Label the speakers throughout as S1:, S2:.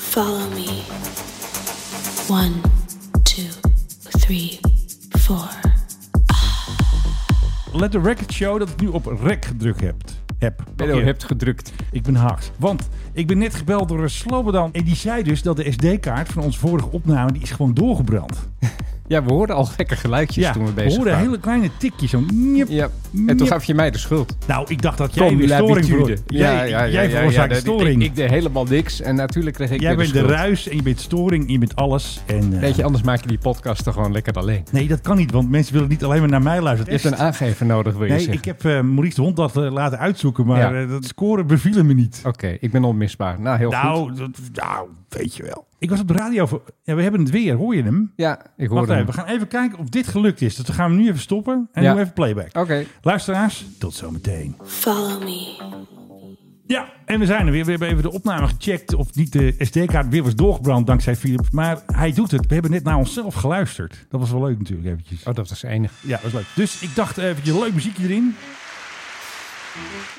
S1: Follow me. One, two, three, four.
S2: Let the record show dat ik nu op rec gedrukt heb. Heb.
S3: Bello
S2: Oké,
S3: hebt gedrukt.
S2: Ik ben haaks. Want ik ben net gebeld door een Slobodan. En die zei dus dat de SD-kaart van onze vorige opname. die is gewoon doorgebrand.
S3: Ja, we hoorden al gekke geluidjes toen we bezig
S2: we hoorden
S3: waren.
S2: hele kleine tikjes. Zo'n nip.
S3: Ja, en toen
S2: Nip.
S3: gaf je mij de schuld.
S2: Nou, ik dacht dat jij weer
S3: Comme
S2: storing
S3: l'habitude.
S2: veroorzaakt. Jij, jij
S3: ja,
S2: veroorzaakt
S3: dat-
S2: storing.
S3: Ik, ik deed helemaal niks en natuurlijk kreeg ik
S2: jij
S3: weer
S2: bent
S3: de
S2: de
S3: schuld.
S2: ruis en je bent storing en je bent alles. En, eh,
S3: Weet je, anders maak je die podcast toch gewoon lekker alleen.
S2: Nee, dat kan niet, want mensen willen niet alleen maar naar mij
S3: Je
S2: luisteren.
S3: hebt een aangever nodig, wil je
S2: Nee,
S3: zeggen.
S2: ik heb eh, Maurice de Hond dat eh, laten uitzoeken, maar
S3: Ja.
S2: eh, dat scoren bevielen me niet.
S3: Oké, ik ben onmisbaar. Nou, heel goed.
S2: Nou, dat, nou, weet je wel. Ik was op de radio voor... Ja, we hebben het weer, hoor je hem?
S3: Ja, ik
S2: Wacht
S3: hoorde
S2: even,
S3: hem.
S2: we gaan even kijken of dit gelukt is. Dus dan gaan we nu even stoppen en
S3: Ja.
S2: doen we even playback.
S3: Oké,
S2: Luisteraars, tot zometeen.
S1: Follow me.
S2: Ja, en we zijn er weer. We hebben even de opname gecheckt of niet de SD-kaart weer was doorgebrand dankzij Philips. Maar hij doet het. We hebben net naar onszelf geluisterd. Dat was wel leuk natuurlijk eventjes.
S3: oh, dat was enig.
S2: Ja, dat was leuk. Dus ik dacht eventjes leuk muziekje erin.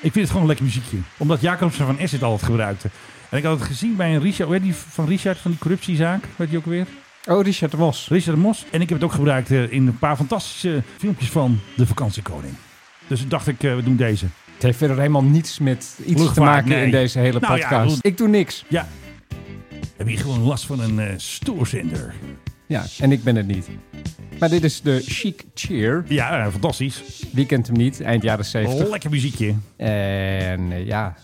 S2: Ik vind het gewoon een lekker muziekje. Omdat Jacobsen van Esset altijd gebruikte. En ik had het gezien bij een Richard, hoe heet die van Richard van die corruptiezaak, weet je ook weer?
S3: Oh, Richard de Mos.
S2: Richard Mos. En ik heb het ook gebruikt eh, in een paar fantastische filmpjes van De Vakantiekoning. Dus dacht ik, eh, we doen deze.
S3: Het heeft verder helemaal niets met iets te
S2: Luchtvaart,
S3: maken
S2: nee.
S3: in deze hele
S2: Nou ja,
S3: podcast.
S2: goed.
S3: ik doe niks.
S2: Ja. Heb je gewoon last van een eh, stoorzender?
S3: Ja, en ik ben het niet. Maar dit is de Chic Cheer.
S2: Ja, eh, fantastisch.
S3: Wie kent hem niet? Eind jaren 70.
S2: Lekker muziekje.
S3: En eh, ja,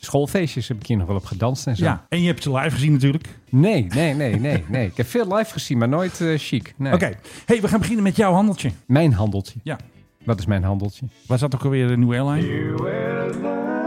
S3: schoolfeestjes heb ik hier nog wel op gedanst en zo.
S2: Ja. En je hebt ze live gezien natuurlijk.
S3: Nee, nee, nee, nee, nee. Ik heb veel live gezien, maar nooit eh, chic. Nee.
S2: Oké. hey, we gaan beginnen met jouw handeltje.
S3: Mijn handeltje.
S2: Ja.
S3: Wat is mijn handeltje?
S2: Waar zat ook alweer de nieuwe airline?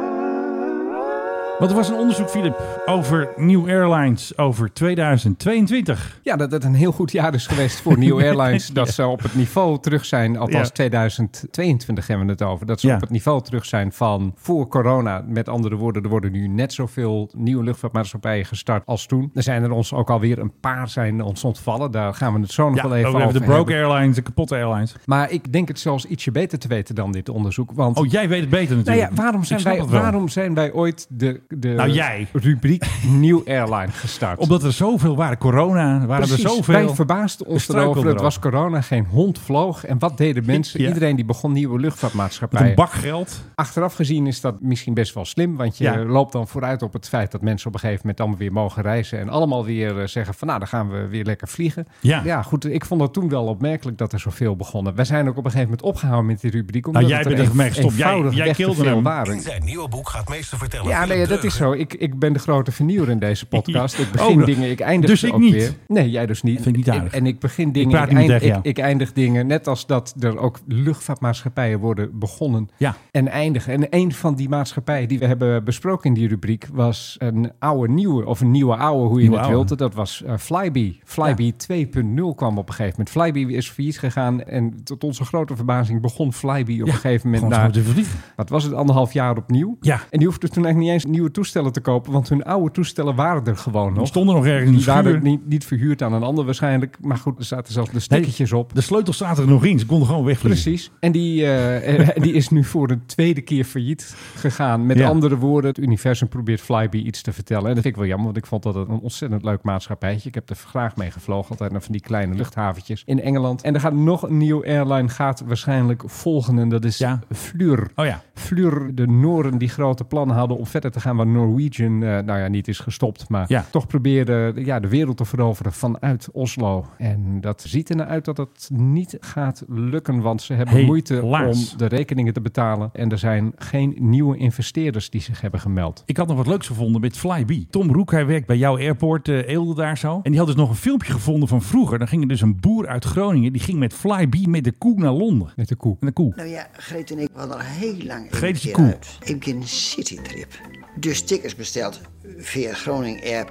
S2: Want er was een onderzoek, Filip, over New Airlines over 2022.
S3: Ja, dat het een heel goed jaar is geweest voor New Airlines. Dat ze op het niveau terug zijn, althans
S2: Ja.
S3: 2022 hebben we het over. Dat ze
S2: Ja.
S3: op het niveau terug zijn van voor corona. Met andere woorden, er worden nu net zoveel nieuwe luchtvaartmaatschappijen gestart als toen. Er zijn er ons ook alweer een paar zijn ons ontvallen. Daar gaan we het zo nog
S2: Ja,
S3: wel even
S2: over
S3: over
S2: de broke
S3: hebben.
S2: airlines, de kapotte airlines.
S3: Maar ik denk het zelfs ietsje beter te weten dan dit onderzoek. Want
S2: Oh, jij weet het beter
S3: nou
S2: natuurlijk.
S3: ja, waarom,
S2: Ik
S3: zijn
S2: snap
S3: wij,
S2: het wel.
S3: waarom zijn wij ooit de, de
S2: Nou, jij.
S3: rubriek New Airline gestart?
S2: Omdat er zoveel waren, corona, waren
S3: Precies,
S2: er zoveel.
S3: wij verbaasden ons
S2: struikelden
S3: erover. Het
S2: erover.
S3: was corona, geen hond vloog. En wat deden mensen?
S2: Ja.
S3: Iedereen die begon nieuwe
S2: Met een
S3: luchtvaartmaatschappijen.
S2: bak geld.
S3: Achteraf gezien is dat misschien best wel slim. Want je
S2: Ja.
S3: loopt dan vooruit op het feit dat mensen op een gegeven moment allemaal weer mogen reizen. En allemaal weer eh, zeggen van nou, dan gaan we weer lekker vliegen.
S2: Ja.
S3: Ja, goed. Ik vond het toen wel opmerkelijk dat er zoveel begonnen. Wij zijn ook op een gegeven moment opgehouden met die rubriek. Omdat
S2: Nou, jij
S3: het
S2: bent er
S3: een-
S2: mee gestopt. Jij-
S3: eenvoudig
S2: jij
S3: weg te
S2: kilde
S3: veel
S2: hem.
S3: waren.
S4: In zijn nieuwe boek gaat meester vertellen.
S3: Ja,
S4: Willem
S3: nee, dat
S4: Deugen
S3: is zo. Ik, ik ben de grote vernieuwer in deze podcast. Ik begin
S2: Oh, dat-
S3: dingen, ik eindig
S2: dus
S3: ze
S2: ik
S3: ook
S2: niet.
S3: weer. Nee, jij dus niet.
S2: Vind ik niet aardig.
S3: En, en ik begin dingen,
S2: praat niet
S3: eind-
S2: tegen jou.
S3: ik, ik eindig dingen. Net als dat er ook luchtvaartmaatschappijen worden begonnen
S2: Ja.
S3: en eindigen. En een van die maatschappijen die we hebben besproken in die rubriek... was een oude nieuwe, of een nieuwe oude, hoe je
S2: Nieuwe
S3: het
S2: ouwe.
S3: wilt. Dat was eh, Flybe. Flybe 2.0 kwam op een gegeven moment. Flybe is failliet gegaan. En tot onze grote verbazing begon Flybe op een gegeven moment...
S2: Gewoon
S3: na-
S2: zo te vliegen.
S3: wat was het, anderhalf jaar opnieuw.
S2: Ja.
S3: En die hoefden toen eigenlijk niet eens nieuwe toestellen te kopen, want hun oude toestellen waren er gewoon
S2: We
S3: nog.
S2: stonden nog ergens in de
S3: Die waren
S2: schuur.
S3: niet, niet verhuurd aan een ander waarschijnlijk. Maar goed, er zaten zelfs de stekkertjes op.
S2: De sleutel staat er nog in. Ze konden gewoon wegvliegen.
S3: Precies. En die, eh, eh, die is nu voor de tweede keer failliet gegaan. Met
S2: Ja.
S3: andere woorden, het universum probeert Flybe iets te vertellen. En dat vind ik wel jammer, want ik vond dat het een ontzettend leuk maatschappijtje. Ik heb er graag mee gevlogen, altijd naar van die kleine luchthaventjes in Engeland. En er gaat nog een nieuwe airline, gaat waarschijnlijk volgen. En dat is
S2: Ja.
S3: Fleur.
S2: Oh ja.
S3: Fleur de Noren die grote plannen hadden om verder te gaan waar Norwegian, eh, nou ja, niet is gestopt, maar
S2: Ja.
S3: toch probeerde ja, de wereld te veroveren vanuit Oslo. En dat ziet ernaar uit dat dat niet gaat lukken, want ze hebben
S2: Helaas.
S3: moeite om de rekeningen te betalen. En er zijn geen nieuwe investeerders die zich hebben gemeld.
S2: Ik had nog wat leuks gevonden met Flybe. Tom Roek, hij werkt bij jouw airport, eh Eelde daar zo. En die had dus nog een filmpje gevonden van vroeger. Dan ging er dus een boer uit Groningen. Die ging met Flybe met de koe naar Londen.
S3: Met de koe.
S2: Met de koe.
S5: Nou ja, Greet en ik hadden al heel lang één
S2: Greet is
S5: keer
S2: cool.
S5: uit. Eén keer een citytrip. Dus tickets besteld via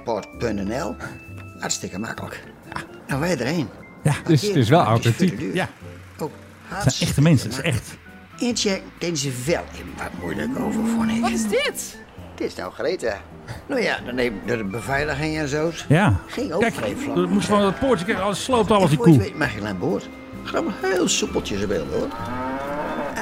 S5: groningairport.nl. Hartstikke makkelijk. Ja, nou wij erheen.
S3: Dus het is wel authentiek.
S2: Ja,
S5: Ook
S2: het zijn echte mensen. Het is echt.
S5: Incheck deden ze wel even wat moeilijk over, vond ik. Wat is dit? Dit is nou Greta. Nou ja, dan neemt de beveiliging en zo.
S2: Ja.
S5: Ging ook
S2: Kijk,
S5: geen vlam.
S2: er moest gewoon dat poortje. Kijk, alles sloopt alles die
S5: Voor je het
S2: koe.
S5: weet mag je aan boord. Gewoon heel soepeltjes zo beeld hoor.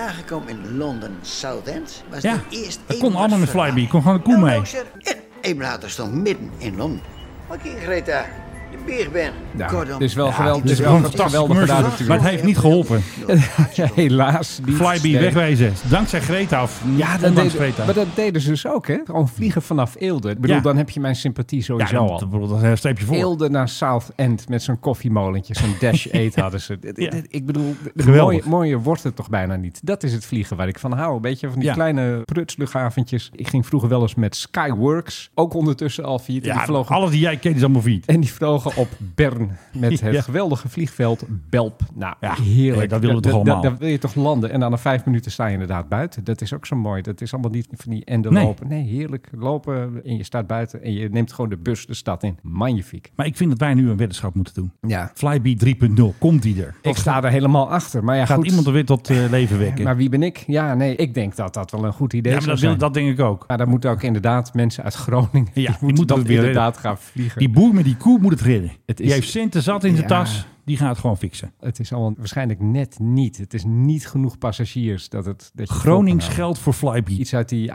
S5: Aangekomen in Londen Southend was
S2: Ja,
S5: het eerst
S2: dat
S5: één
S2: kon allemaal met
S5: wasverhaal.
S2: Flybe. Kon gewoon de koe
S5: Nou,
S2: mee.
S5: nou, zeg, En even later stond ik midden in Londen. Maar kijk Greta, je bezig bent.
S3: Ja,
S5: Kortom.
S3: het is wel geweldig.
S2: dit
S3: Het
S2: is
S3: is
S2: gewoon
S3: wel
S2: een fantastisch
S3: geweldig gedaan
S2: commercial. Maar
S3: natuurlijk.
S2: het heeft niet geholpen.
S3: Helaas niet.
S2: Flyby
S3: Nee.
S2: wegwijzen. Dankzij Greta. Of
S3: Ja, dat
S2: ondanks
S3: deden,
S2: Greta.
S3: maar dat deden ze dus ook, hè? Gewoon vliegen vanaf Eelde. Ik bedoel,
S2: Ja.
S3: dan heb je mijn sympathie
S2: ja,
S3: sowieso
S2: dat,
S3: al.
S2: dat, dat eh, streep je voor.
S3: Eelde naar South End met zo'n koffiemolentje. Zo'n dash eet hadden ze. Dit- dit- Ik bedoel, d-
S2: Geweldig.
S3: mooier, mooier wordt het toch bijna niet. Dat is het vliegen waar ik van hou. Een beetje van die
S2: Ja.
S3: kleine prutsluchthaventjes. Ik ging vroeger wel eens met Skyworks. Ook ondertussen al failliet. En
S2: Ja,
S3: die vlogen
S2: alles die jij kent is allemaal fiet.
S3: en die vlogen op Bern met het
S2: Ja.
S3: geweldige vliegveld Belp. Nou,
S2: Ja,
S3: heerlijk.
S2: hey, dat willen we toch allemaal.
S3: Daar wil je toch landen. En aan de vijf minuten sta je inderdaad buiten. Dat is ook zo mooi. Dat is allemaal niet van die enden
S2: Nee.
S3: lopen. Nee, heerlijk lopen. En je staat buiten en je neemt gewoon de bus de stad in. Magnifiek.
S2: Maar ik vind dat wij nu een weddenschap moeten doen.
S3: Ja.
S2: Flyby 3.0, komt die er?
S3: Ik sta er helemaal achter. Maar ja,
S2: Gaat
S3: goed.
S2: iemand er weer tot eh, leven wekken?
S3: Maar wie ben ik? Ja, nee, ik denk dat dat wel een goed
S2: ja,
S3: idee
S2: maar
S3: zou
S2: dat,
S3: zijn.
S2: wil, dat denk ik ook.
S3: Maar dan moeten ook inderdaad mensen uit Groningen...
S2: Ja, die
S3: die moeten
S2: moeten
S3: dat
S2: het weer
S3: inderdaad gaan vliegen.
S2: Die boer met die koe moet het redden.
S3: Het
S2: Die
S3: is-
S2: heeft centen zat in zijn
S3: Ja.
S2: tas. Die gaat het gewoon fixen.
S3: Het is allemaal waarschijnlijk net niet. Het is niet genoeg passagiers dat het... Dat je
S2: Gronings
S3: volgen-
S2: geld voor Flyby.
S3: Iets uit die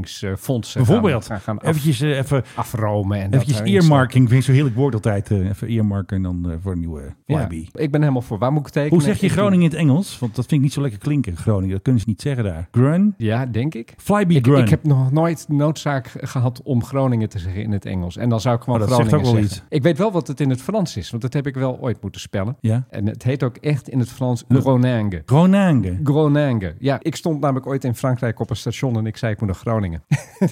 S3: aardbevingsfondsen.
S2: Bijvoorbeeld.
S3: Gaan, gaan, gaan af-
S2: eventjes eh, even,
S3: afromen. En
S2: eventjes
S3: dat eh, erin
S2: earmarking. Vind ik zo'n heerlijk woord altijd. eh, even earmarken en dan eh, voor een nieuwe
S3: staan.
S2: Flyby.
S3: Ja, ik ben helemaal voor. Waar moet ik tekenen?
S2: Hoe zeg je
S3: Ik doe-
S2: Groningen in het Engels? Want dat vind ik niet zo lekker klinken, Groningen. Dat kunnen ze niet zeggen daar. Grun?
S3: Ja, denk ik.
S2: Flyby
S3: Ik,
S2: Grun.
S3: ik heb nog nooit noodzaak gehad om Groningen te zeggen in het Engels. En dan zou ik gewoon
S2: Oh, dat zegt
S3: Groningen
S2: ook wel
S3: zeggen. Ik weet wel wat het in het Frans is, want dat heb ik wel ooit moeten spellen.
S2: Ja.
S3: En het heet ook echt in het Frans Groningen.
S2: Groningen.
S3: Groningen. Ja, ik stond namelijk ooit in Frankrijk op een station en ik zei ik moet naar Groningen.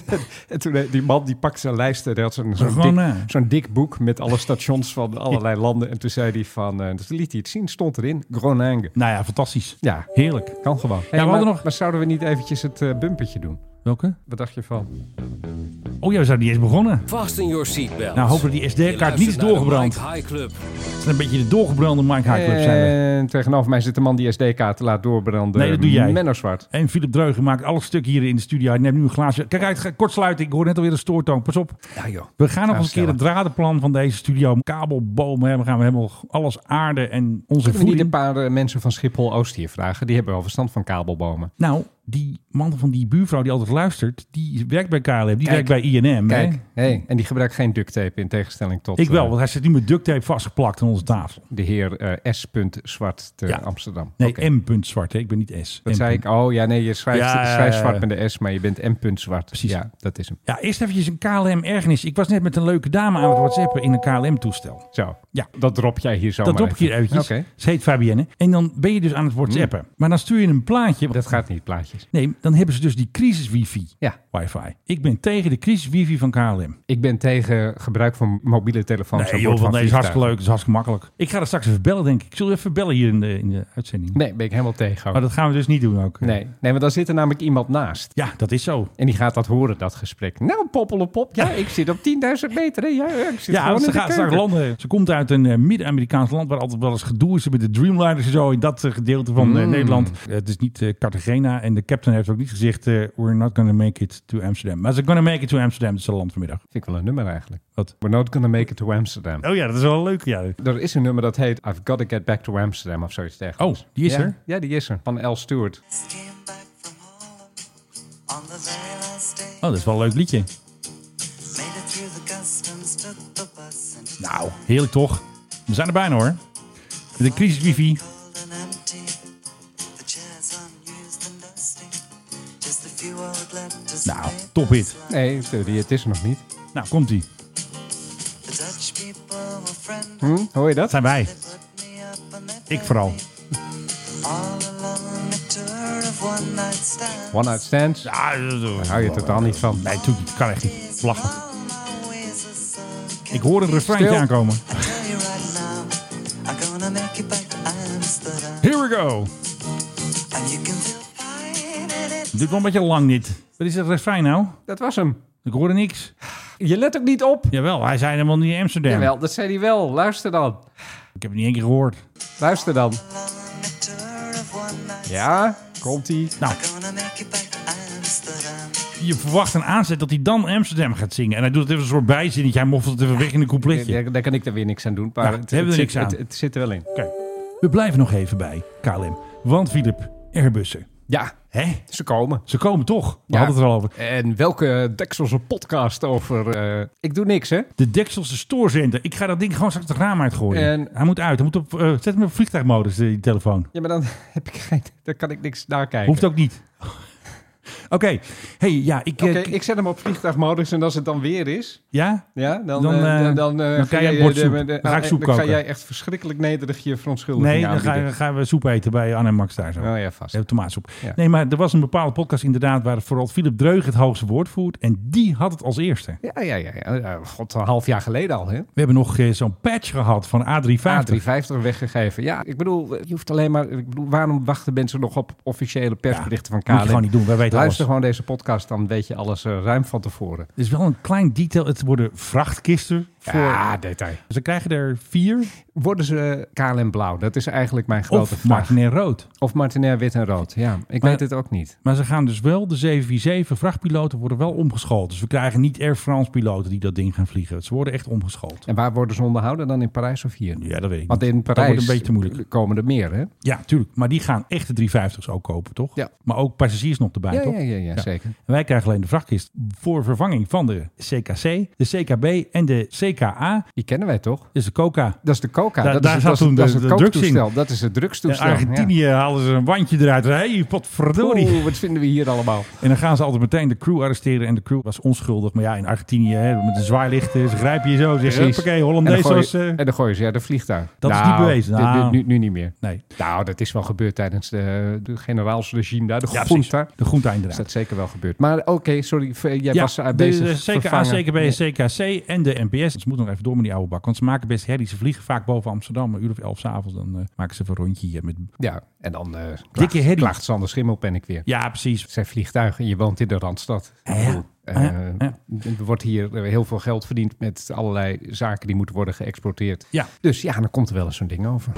S3: en toen eh, die man die pakte zijn lijst en hij had zo'n zo'n dik,
S2: Groningen.
S3: zo'n dik boek met alle stations van allerlei landen. En toen zei hij van, eh dus liet hij het zien, stond erin Groningen.
S2: Nou ja, fantastisch.
S3: Ja,
S2: Heerlijk.
S3: kan gewoon. Hey,
S2: hadden
S3: maar,
S2: nog-
S3: maar zouden we niet eventjes het eh bumpetje doen?
S2: Welke?
S3: Wat dacht je van?
S2: Oh ja, we zijn niet eens begonnen.
S6: Fasten your seatbelt.
S2: Nou, hopen dat die SD-kaart niet is doorgebrand.
S6: High Club.
S2: Het is een beetje de doorgebrande Mike High Club zijn we.
S3: En tegenover mij zit de man die SD-kaart laat doorbranden.
S2: Nee, dat doe jij.
S3: Menno Zwart.
S2: En Philip Dreugen maakt alles stuk hier in de studio. Hij neemt nu een glaasje. Kijk uit, ga- kortsluiting. Ik hoor net alweer een stoortoon. Pas op.
S3: Ja joh.
S2: We gaan nog eens een keer
S3: stellen.
S2: het dradenplan van deze studio. Kabelbomen hebben. Gaan we helemaal alles aarde en onze
S3: Kunnen we niet
S2: voeding.
S3: een paar eh, mensen van Schiphol-Oost hier vragen? Die hebben wel verstand van kabelbomen.
S2: Nou, die man van die buurvrouw die altijd luistert, die werkt bij KLM. Die
S3: Kijk.
S2: werkt bij INM. hè?
S3: Kijk, hey, en die gebruikt geen duct tape in tegenstelling tot
S2: Ik wel,
S3: eh,
S2: want hij zit nu met duct tape vastgeplakt aan onze tafel.
S3: de heer eh, S. Zwart te
S2: Ja.
S3: Amsterdam.
S2: Nee,
S3: Oké.
S2: M. Zwart. Hè? Ik ben niet S.
S3: Dat
S2: M.
S3: zei ik. Oh ja, nee, je schrijft,
S2: Ja,
S3: je schrijft
S2: ja,
S3: zwart
S2: ja.
S3: met de S, maar je bent M. Zwart.
S2: Precies.
S3: Ja, dat is hem.
S2: Ja, eerst eventjes een KLM-ergernis. Ik was net met een leuke dame aan het whatsappen in een KLM-toestel.
S3: Zo.
S2: Ja.
S3: Dat drop jij hier zo.
S2: Dat drop ik hier eventjes.
S3: Oké. Mm.
S2: Ze heet Fabienne. En dan ben je dus aan het whatsappen. Maar dan stuur je een plaatje.
S3: Dat gaat niet, plaatjes.
S2: Nee, dan hebben ze dus die crisis-wifi.
S3: Ja.
S2: Wifi. Ik ben tegen de crisis-wifi van KLM.
S3: Ik ben tegen gebruik van mobiele telefoons. aan
S2: Nee,
S3: boord
S2: joh,
S3: van
S2: want nee, is hartstikke
S3: vliegtuigen.
S2: leuk. is hartstikke makkelijk. Ik ga er straks even bellen, denk ik. Ik zal even bellen hier in de, in de uitzending.
S3: Nee, ben ik helemaal tegen. ook.
S2: Maar dat gaan we dus niet doen ook.
S3: Nee. nee, want dan zit er namelijk iemand naast.
S2: Ja, dat is zo.
S3: En die gaat dat horen, dat gesprek. Nou, poppelepop. Ja, ik zit op 10.000 meter. hè. Ja, ja, ik zit
S2: Ja,
S3: gewoon
S2: want
S3: in
S2: ze
S3: de
S2: gaat straks
S3: keuken.
S2: landen. Ze komt uit een eh, midden-Amerikaans land waar altijd wel eens gedoe is met de Dreamliners en zo. In dat eh, gedeelte van eh, Nederland. Eh, het is niet eh, Cartagena. En de captain heeft ook niet gezegd: eh, We're not gonna make it to Amsterdam. Maar ze gonna make it to Amsterdam. Dat is het land vanmiddag.
S3: Vind ik wel een nummer eigenlijk.
S2: Wat?
S3: We're not gonna make it to Amsterdam.
S2: Oh ja, dat is wel leuk. Ja.
S3: Er is een nummer dat heet I've Gotta Get Back to Amsterdam of zoiets dergelijks.
S2: Oh, die is
S3: Ja,
S2: er?
S3: Ja, die is er. Van L. Stewart.
S7: came back from Harlem on the very last day.
S2: Oh, dat is wel een leuk liedje.
S7: Made it through the customs, took the bus and
S2: Nou, heerlijk toch? We zijn er bijna hoor. De crisis wifi.
S7: cold and empty. The chairs unused and dusty. Just a few old letters.
S2: Nou,
S7: and
S2: top hit.
S3: Nee, die, het is er nog niet.
S2: Nou, komt ie.
S7: The Dutch people were friendly.
S3: Hm? Hoor je
S2: Dat
S3: dat?
S2: zijn wij.
S7: They put me up and they
S2: Ik vooral.
S7: all along a tour of one night stands.
S3: One Night Stands. Daar
S2: Ja, dat- dat-
S3: hou je totaal niet van.
S2: Nee, natuurlijk niet. Kan echt niet. Lachen.
S7: All my ways are sunk.
S2: Ik hoor een refreintje
S3: Stil.
S2: aankomen.
S7: I tell you right now, I'm gonna make it back to Amsterdam.
S2: Here we go.
S7: And you can feel fine in it.
S2: Dit wel een beetje lang dit. Wat is dat refrein nou?
S3: Dat was hem.
S2: Ik hoorde niks.
S3: Je let ook niet op.
S2: Jawel, hij zei helemaal niet in Amsterdam.
S3: Jawel, dat zei hij wel. Luister dan.
S2: Ik heb het niet één keer gehoord.
S3: Luister dan.
S7: A tour of one night.
S3: Ja, komt-ie.
S2: Nou,
S7: Gonna make it back to Amsterdam.
S2: je verwacht een aanzet dat hij dan Amsterdam gaat zingen. En hij doet het even een soort bijzinnetje. Hij moffelt het even weg in een coupletje.
S3: Daar, daar kan ik er weer niks aan doen. Maar
S2: Nou,
S3: het,
S2: hebben we er niks
S3: het zit-
S2: aan.
S3: Het, het zit er wel in.
S2: Kijk, we blijven nog even bij KLM. Want Philip, Airbussen.
S3: Ja,
S2: Hè?
S3: ze komen.
S2: Ze komen toch? We
S3: Ja.
S2: hadden het er al over.
S3: En welke Dekselse podcast over... eh, ik doe niks, hè?
S2: De Dekselse stoorzender. Ik ga dat ding gewoon straks het raam uitgooien.
S3: En-
S2: Hij moet uit. Hij moet op, eh, zet hem op vliegtuigmodus, eh, die telefoon.
S3: Ja, maar dan heb ik geen... Dan kan ik niks nakijken.
S2: Hoeft ook niet. Oké. Hey, ja, ik... eh,
S3: Oké,
S2: k-
S3: ik zet hem op vliegtuigmodus en als het dan weer is...
S2: Ja?
S3: Ja, dan,
S2: Dan,
S3: dan,
S2: eh,
S3: dan, dan, eh,
S2: dan
S3: ga
S2: kan jij
S3: jij
S2: een bord
S3: de-
S2: soep.
S3: de-
S2: Dan
S3: ah,
S2: ga ik soep
S3: dan
S2: koken.
S3: ga jij echt verschrikkelijk nederig je verontschuldiging
S2: Nee, dan
S3: aanbieden.
S2: gaan, we- gaan we soep eten bij Anne en Max daar zo.
S3: Oh ja, vast.
S2: Ja, tomaatsoep.
S3: Ja.
S2: Nee, maar er was een bepaalde podcast inderdaad... waar vooral Philip Dreug het hoogste woord voert. En die had het als eerste.
S3: Ja, ja, ja. ja. Oh, ja. God, een half jaar geleden al, hè?
S2: We hebben nog eh, zo'n patch gehad van A350.
S3: A350 weggegeven. Ja, ik bedoel, eh, je hoeft alleen maar... Ik bedoel, waarom wachten mensen nog op officiële persberichten
S2: Ja,
S3: van KLM?
S2: moet je gewoon niet doen, wij weten
S3: Luister
S2: alles.
S3: gewoon deze podcast, dan weet je alles eh, ruim van tevoren.
S2: Het is wel een klein detail. Het worden vrachtkisten. Voor,
S3: Ja, detail.
S2: Ze krijgen er vier.
S3: Worden ze KLM blauw? Dat is eigenlijk mijn grote
S2: Of
S3: vraag.
S2: Martin en Rood.
S3: Of Martinair wit en rood. Ja, ik
S2: Maar-
S3: weet het ook niet.
S2: Maar ze gaan dus wel, de 747 vrachtpiloten worden wel omgeschoold. Dus we krijgen niet Air France piloten die dat ding gaan vliegen. Ze worden echt omgeschoold.
S3: En waar worden ze onderhouden dan? In Parijs of hier?
S2: Ja, dat weet ik
S3: Want
S2: niet.
S3: in
S2: Dat
S3: Parijs
S2: wordt een beetje te moeilijk.
S3: komen er meer, hè?
S2: Ja, tuurlijk. Maar die gaan echt de 350's ook kopen, toch?
S3: Ja.
S2: Maar ook passagiers nog erbij,
S3: Ja,
S2: toch?
S3: ja, ja, ja, zeker.
S2: En wij krijgen alleen de vrachtkist voor vervanging van de CKC, de CKB en de CKA.
S3: Die kennen wij toch?
S2: Dus de coca.
S3: Dat is de coca.
S2: Da-
S3: dat
S2: daar
S3: is,
S2: zat
S3: dat
S2: toen
S3: is, dat
S2: de-
S3: is het
S2: de drugs in.
S3: kooktoestel. Dat is het
S2: In
S3: drugstoestel.
S2: Argentinië halen ze een wandje eruit. Hé, hey,
S3: Ja.
S2: potverdorie.
S3: Oeh, wat vinden we hier allemaal?
S2: En dan gaan ze altijd meteen de crew arresteren. En de crew was onschuldig. Maar ja, in Argentinië hè, met een zwaarlichten. Ze grijpen je zo. Zeggen,
S3: Precies.
S2: hoppakee,
S3: en,
S2: Hollandees
S3: dan gooi
S2: was...
S3: je,
S2: eh,
S3: en dan gooien ze ja, de vliegtuig.
S2: Dat is
S3: Nou,
S2: niet bewezen.
S3: dit-
S2: Nou.
S3: Nu, nu niet meer.
S2: nee.
S3: Nou, dat is wel gebeurd tijdens de, de generaalsregime daar, de
S2: Ja, precies.
S3: junta.
S2: De groente
S3: Is
S2: inderdaad.
S3: dat zeker wel gebeurd. Maar oké, sorry, v- jij
S2: ja,
S3: was
S2: de,
S3: daar bezig
S2: de CKA,
S3: vervangen.
S2: CKB, CKC en de NPS. Ze moeten nog even door met die oude bak. Want ze maken best herrie. Ze vliegen vaak boven Amsterdam. Een uur of elf s'avonds. Dan eh, maken ze even een rondje hier. Met...
S3: Ja, en dan eh klaagt,
S2: Dikke herrie.
S3: klaagt Sander Schimmel, ben ik weer.
S2: Ja, precies.
S3: Het zijn vliegtuigen en je woont in de Randstad. Ik bedoel, eh,
S2: Ja, ja.
S3: Er wordt hier eh, heel veel geld verdiend met allerlei zaken die moeten worden geëxporteerd.
S2: Ja.
S3: Dus ja, dan komt er wel eens zo'n ding over.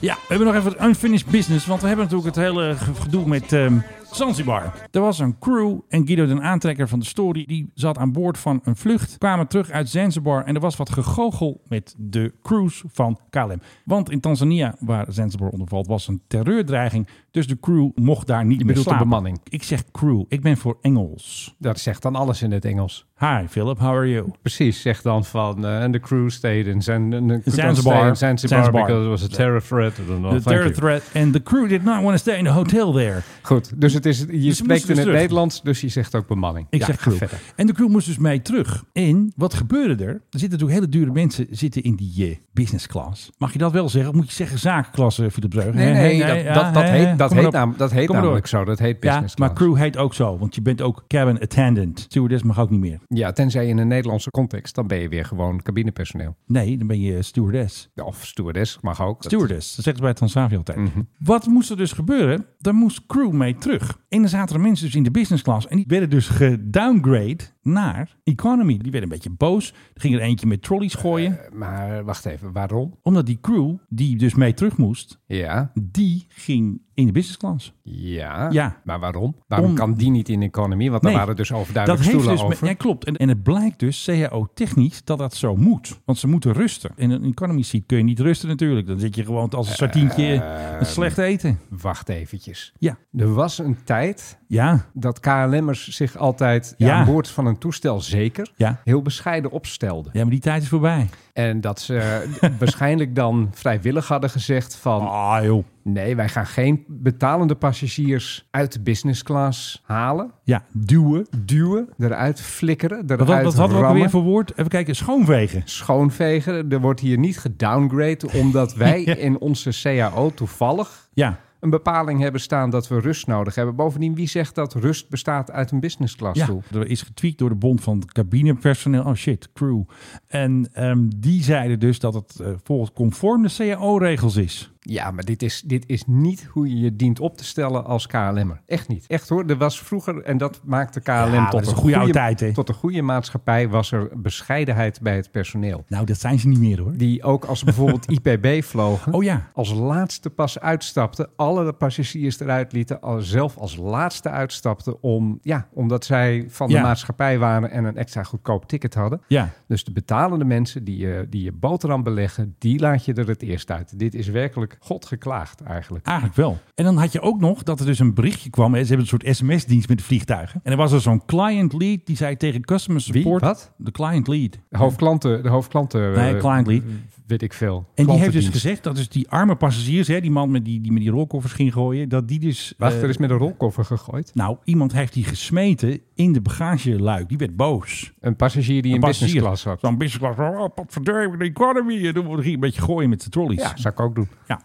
S2: Ja, we hebben nog even het unfinished business. Want we hebben natuurlijk het hele ge- gedoe met ehm, Zanzibar. Er was een crew en Guido, de aantrekker van de story, die zat aan boord van een vlucht. Kwamen terug uit Zanzibar en er was wat gegogel met de crews van KLM. Want in Tanzania, waar Zanzibar onder valt, was een terreurdreiging. Dus de crew mocht daar niet meer
S3: bedoelt de
S2: slapen.
S3: bemanning?
S2: Ik zeg crew. Ik ben voor Engels.
S3: Dat zegt dan alles in het Engels.
S2: Hi Philip, how are you?
S3: Precies, zegt dan van eh, and the crew stayed in Zan- and the crew
S2: Zanzibar.
S3: stayed in
S2: Zanzibar.
S3: Zanzibar because it was a terror threat. I don't
S2: The
S3: know. Thank
S2: terror
S3: you.
S2: threat and the crew did not want to stay in the hotel there.
S3: Goed, dus het is, je
S2: moesten
S3: spreekt
S2: dus
S3: in het
S2: terug.
S3: Nederlands, dus je zegt ook bemanning.
S2: Ik
S3: Ja,
S2: zeg
S3: ga
S2: crew.
S3: verder.
S2: En de crew moest dus mee terug. En wat gebeurde er? Er zitten natuurlijk hele dure mensen zitten in die eh, business class. Mag je dat wel zeggen? Of Moet je zeggen zakenklasse, Philip Breugen?
S3: Nee, nee, dat,
S2: ja,
S3: dat, dat
S2: hè, hè.
S3: heet, dat
S2: Kom maar
S3: heet,
S2: op.
S3: nam- dat heet
S2: Kom maar door.
S3: namelijk zo. Dat heet
S2: Ja,
S3: business
S2: maar
S3: class.
S2: crew heet ook zo. Want je bent ook cabin attendant. Stewardess mag ook niet meer.
S3: Ja, tenzij in een Nederlandse context, dan ben je weer gewoon cabinepersoneel.
S2: Nee, dan ben je eh, stewardess.
S3: Ja, Of stewardess, mag ook. Dat- Mhm.
S2: Stewardess, dat zeggen ze bij Transavia altijd. Wat moest er dus gebeuren? Daar moest crew mee terug. En dan zaten er mensen dus in de business class. En die werden dus gedowngrade naar economy. Die werden een beetje boos. Er ging er eentje met trolleys gooien.
S3: Eh, Maar wacht even, waarom?
S2: Omdat die crew, die dus mee terug moest,
S3: Ja,
S2: die ging in de business class.
S3: ja.
S2: Ja.
S3: Maar waarom? Waarom
S2: Om-
S3: kan die niet in economie? Want daar waren dus
S2: dat
S3: overduidelijk
S2: heeft
S3: stoelen
S2: dus met-
S3: over.
S2: ja, klopt. En, en het blijkt dus CAO-technisch dat dat zo moet. Want ze moeten rusten. In een economy seat kun je niet rusten natuurlijk. Dan zit je gewoon als
S3: Eh,
S2: een sardientje een slecht eten.
S3: Wacht eventjes.
S2: Ja.
S3: Er was een tijd
S2: Ja,
S3: dat KLM'ers zich altijd ja,
S2: Ja.
S3: aan boord van een toestel zeker
S2: Ja.
S3: heel bescheiden opstelden.
S2: ja, maar die tijd is voorbij.
S3: En dat ze eh, waarschijnlijk dan vrijwillig hadden gezegd van...
S2: Ah joh.
S3: Nee, wij gaan geen betalende passagiers uit de business class halen.
S2: Ja, duwen.
S3: Duwen, eruit flikkeren, eruit
S2: Wat, wat, wat hadden we ook
S3: rammen,
S2: weer voor woord? Even kijken, schoonvegen.
S3: Schoonvegen. Er wordt hier niet gedowngrade omdat wij
S2: Ja.
S3: in onze CAO toevallig
S2: Ja,
S3: een bepaling hebben staan dat we rust nodig hebben. Bovendien, wie zegt dat rust bestaat uit een business class
S2: ja.
S3: stoel?
S2: er is getweakt door de bond van het cabinepersoneel. Oh shit, crew. En ehm, die zeiden dus dat het eh, volgens conform de CAO-regels is.
S3: Ja, maar dit is, dit is niet hoe je je dient op te stellen als KLM'er. Echt niet. Echt hoor, er was vroeger, en dat maakte KLM
S2: maar dat
S3: tot,
S2: is
S3: een
S2: een goede oude tijd, hè?
S3: tot een goede maatschappij, was er bescheidenheid bij het personeel.
S2: Nou, dat zijn ze niet meer hoor.
S3: Die ook als ze bijvoorbeeld IPB vlogen,
S2: Oh ja.
S3: als laatste pas uitstapten, alle de passagiers eruit lieten, al- zelf als laatste uitstapten, om, ja, omdat zij van
S2: Ja.
S3: de maatschappij waren en een extra goedkoop ticket hadden.
S2: Ja.
S3: eh, Dus de betalende mensen die je, die je boterham beleggen, die laat je er het eerst uit. Dit is werkelijk eigenlijk. God geklaagd eigenlijk.
S2: Eigenlijk wel. En dan had je ook nog dat er dus een berichtje kwam. Hè, ze hebben een soort sms-dienst met vliegtuigen. En er was er zo'n client lead die zei tegen customer support...
S3: Wat?
S2: De client lead.
S3: De hoofdklanten, de hoofdklanten
S2: Nee,
S3: eh,
S2: client lead.
S3: weet ik veel.
S2: En die heeft dus
S3: Klantendienst.
S2: gezegd dat dus die arme passagiers, hè, die man met die, die met die rolkoffers ging gooien, dat die dus...
S3: Wacht,
S2: eh,
S3: er is met een rolkoffer gegooid.
S2: Nou, iemand heeft die gesmeten in de bagageluik. Die werd boos.
S3: Een passagier die in business
S2: passagier.
S3: class zat.
S2: Zo'n business class. Oh, potverdurrie, de economy. En toen ging een beetje gooien met de trolleys.
S3: Ja, zou ik ook doen.
S2: Ja.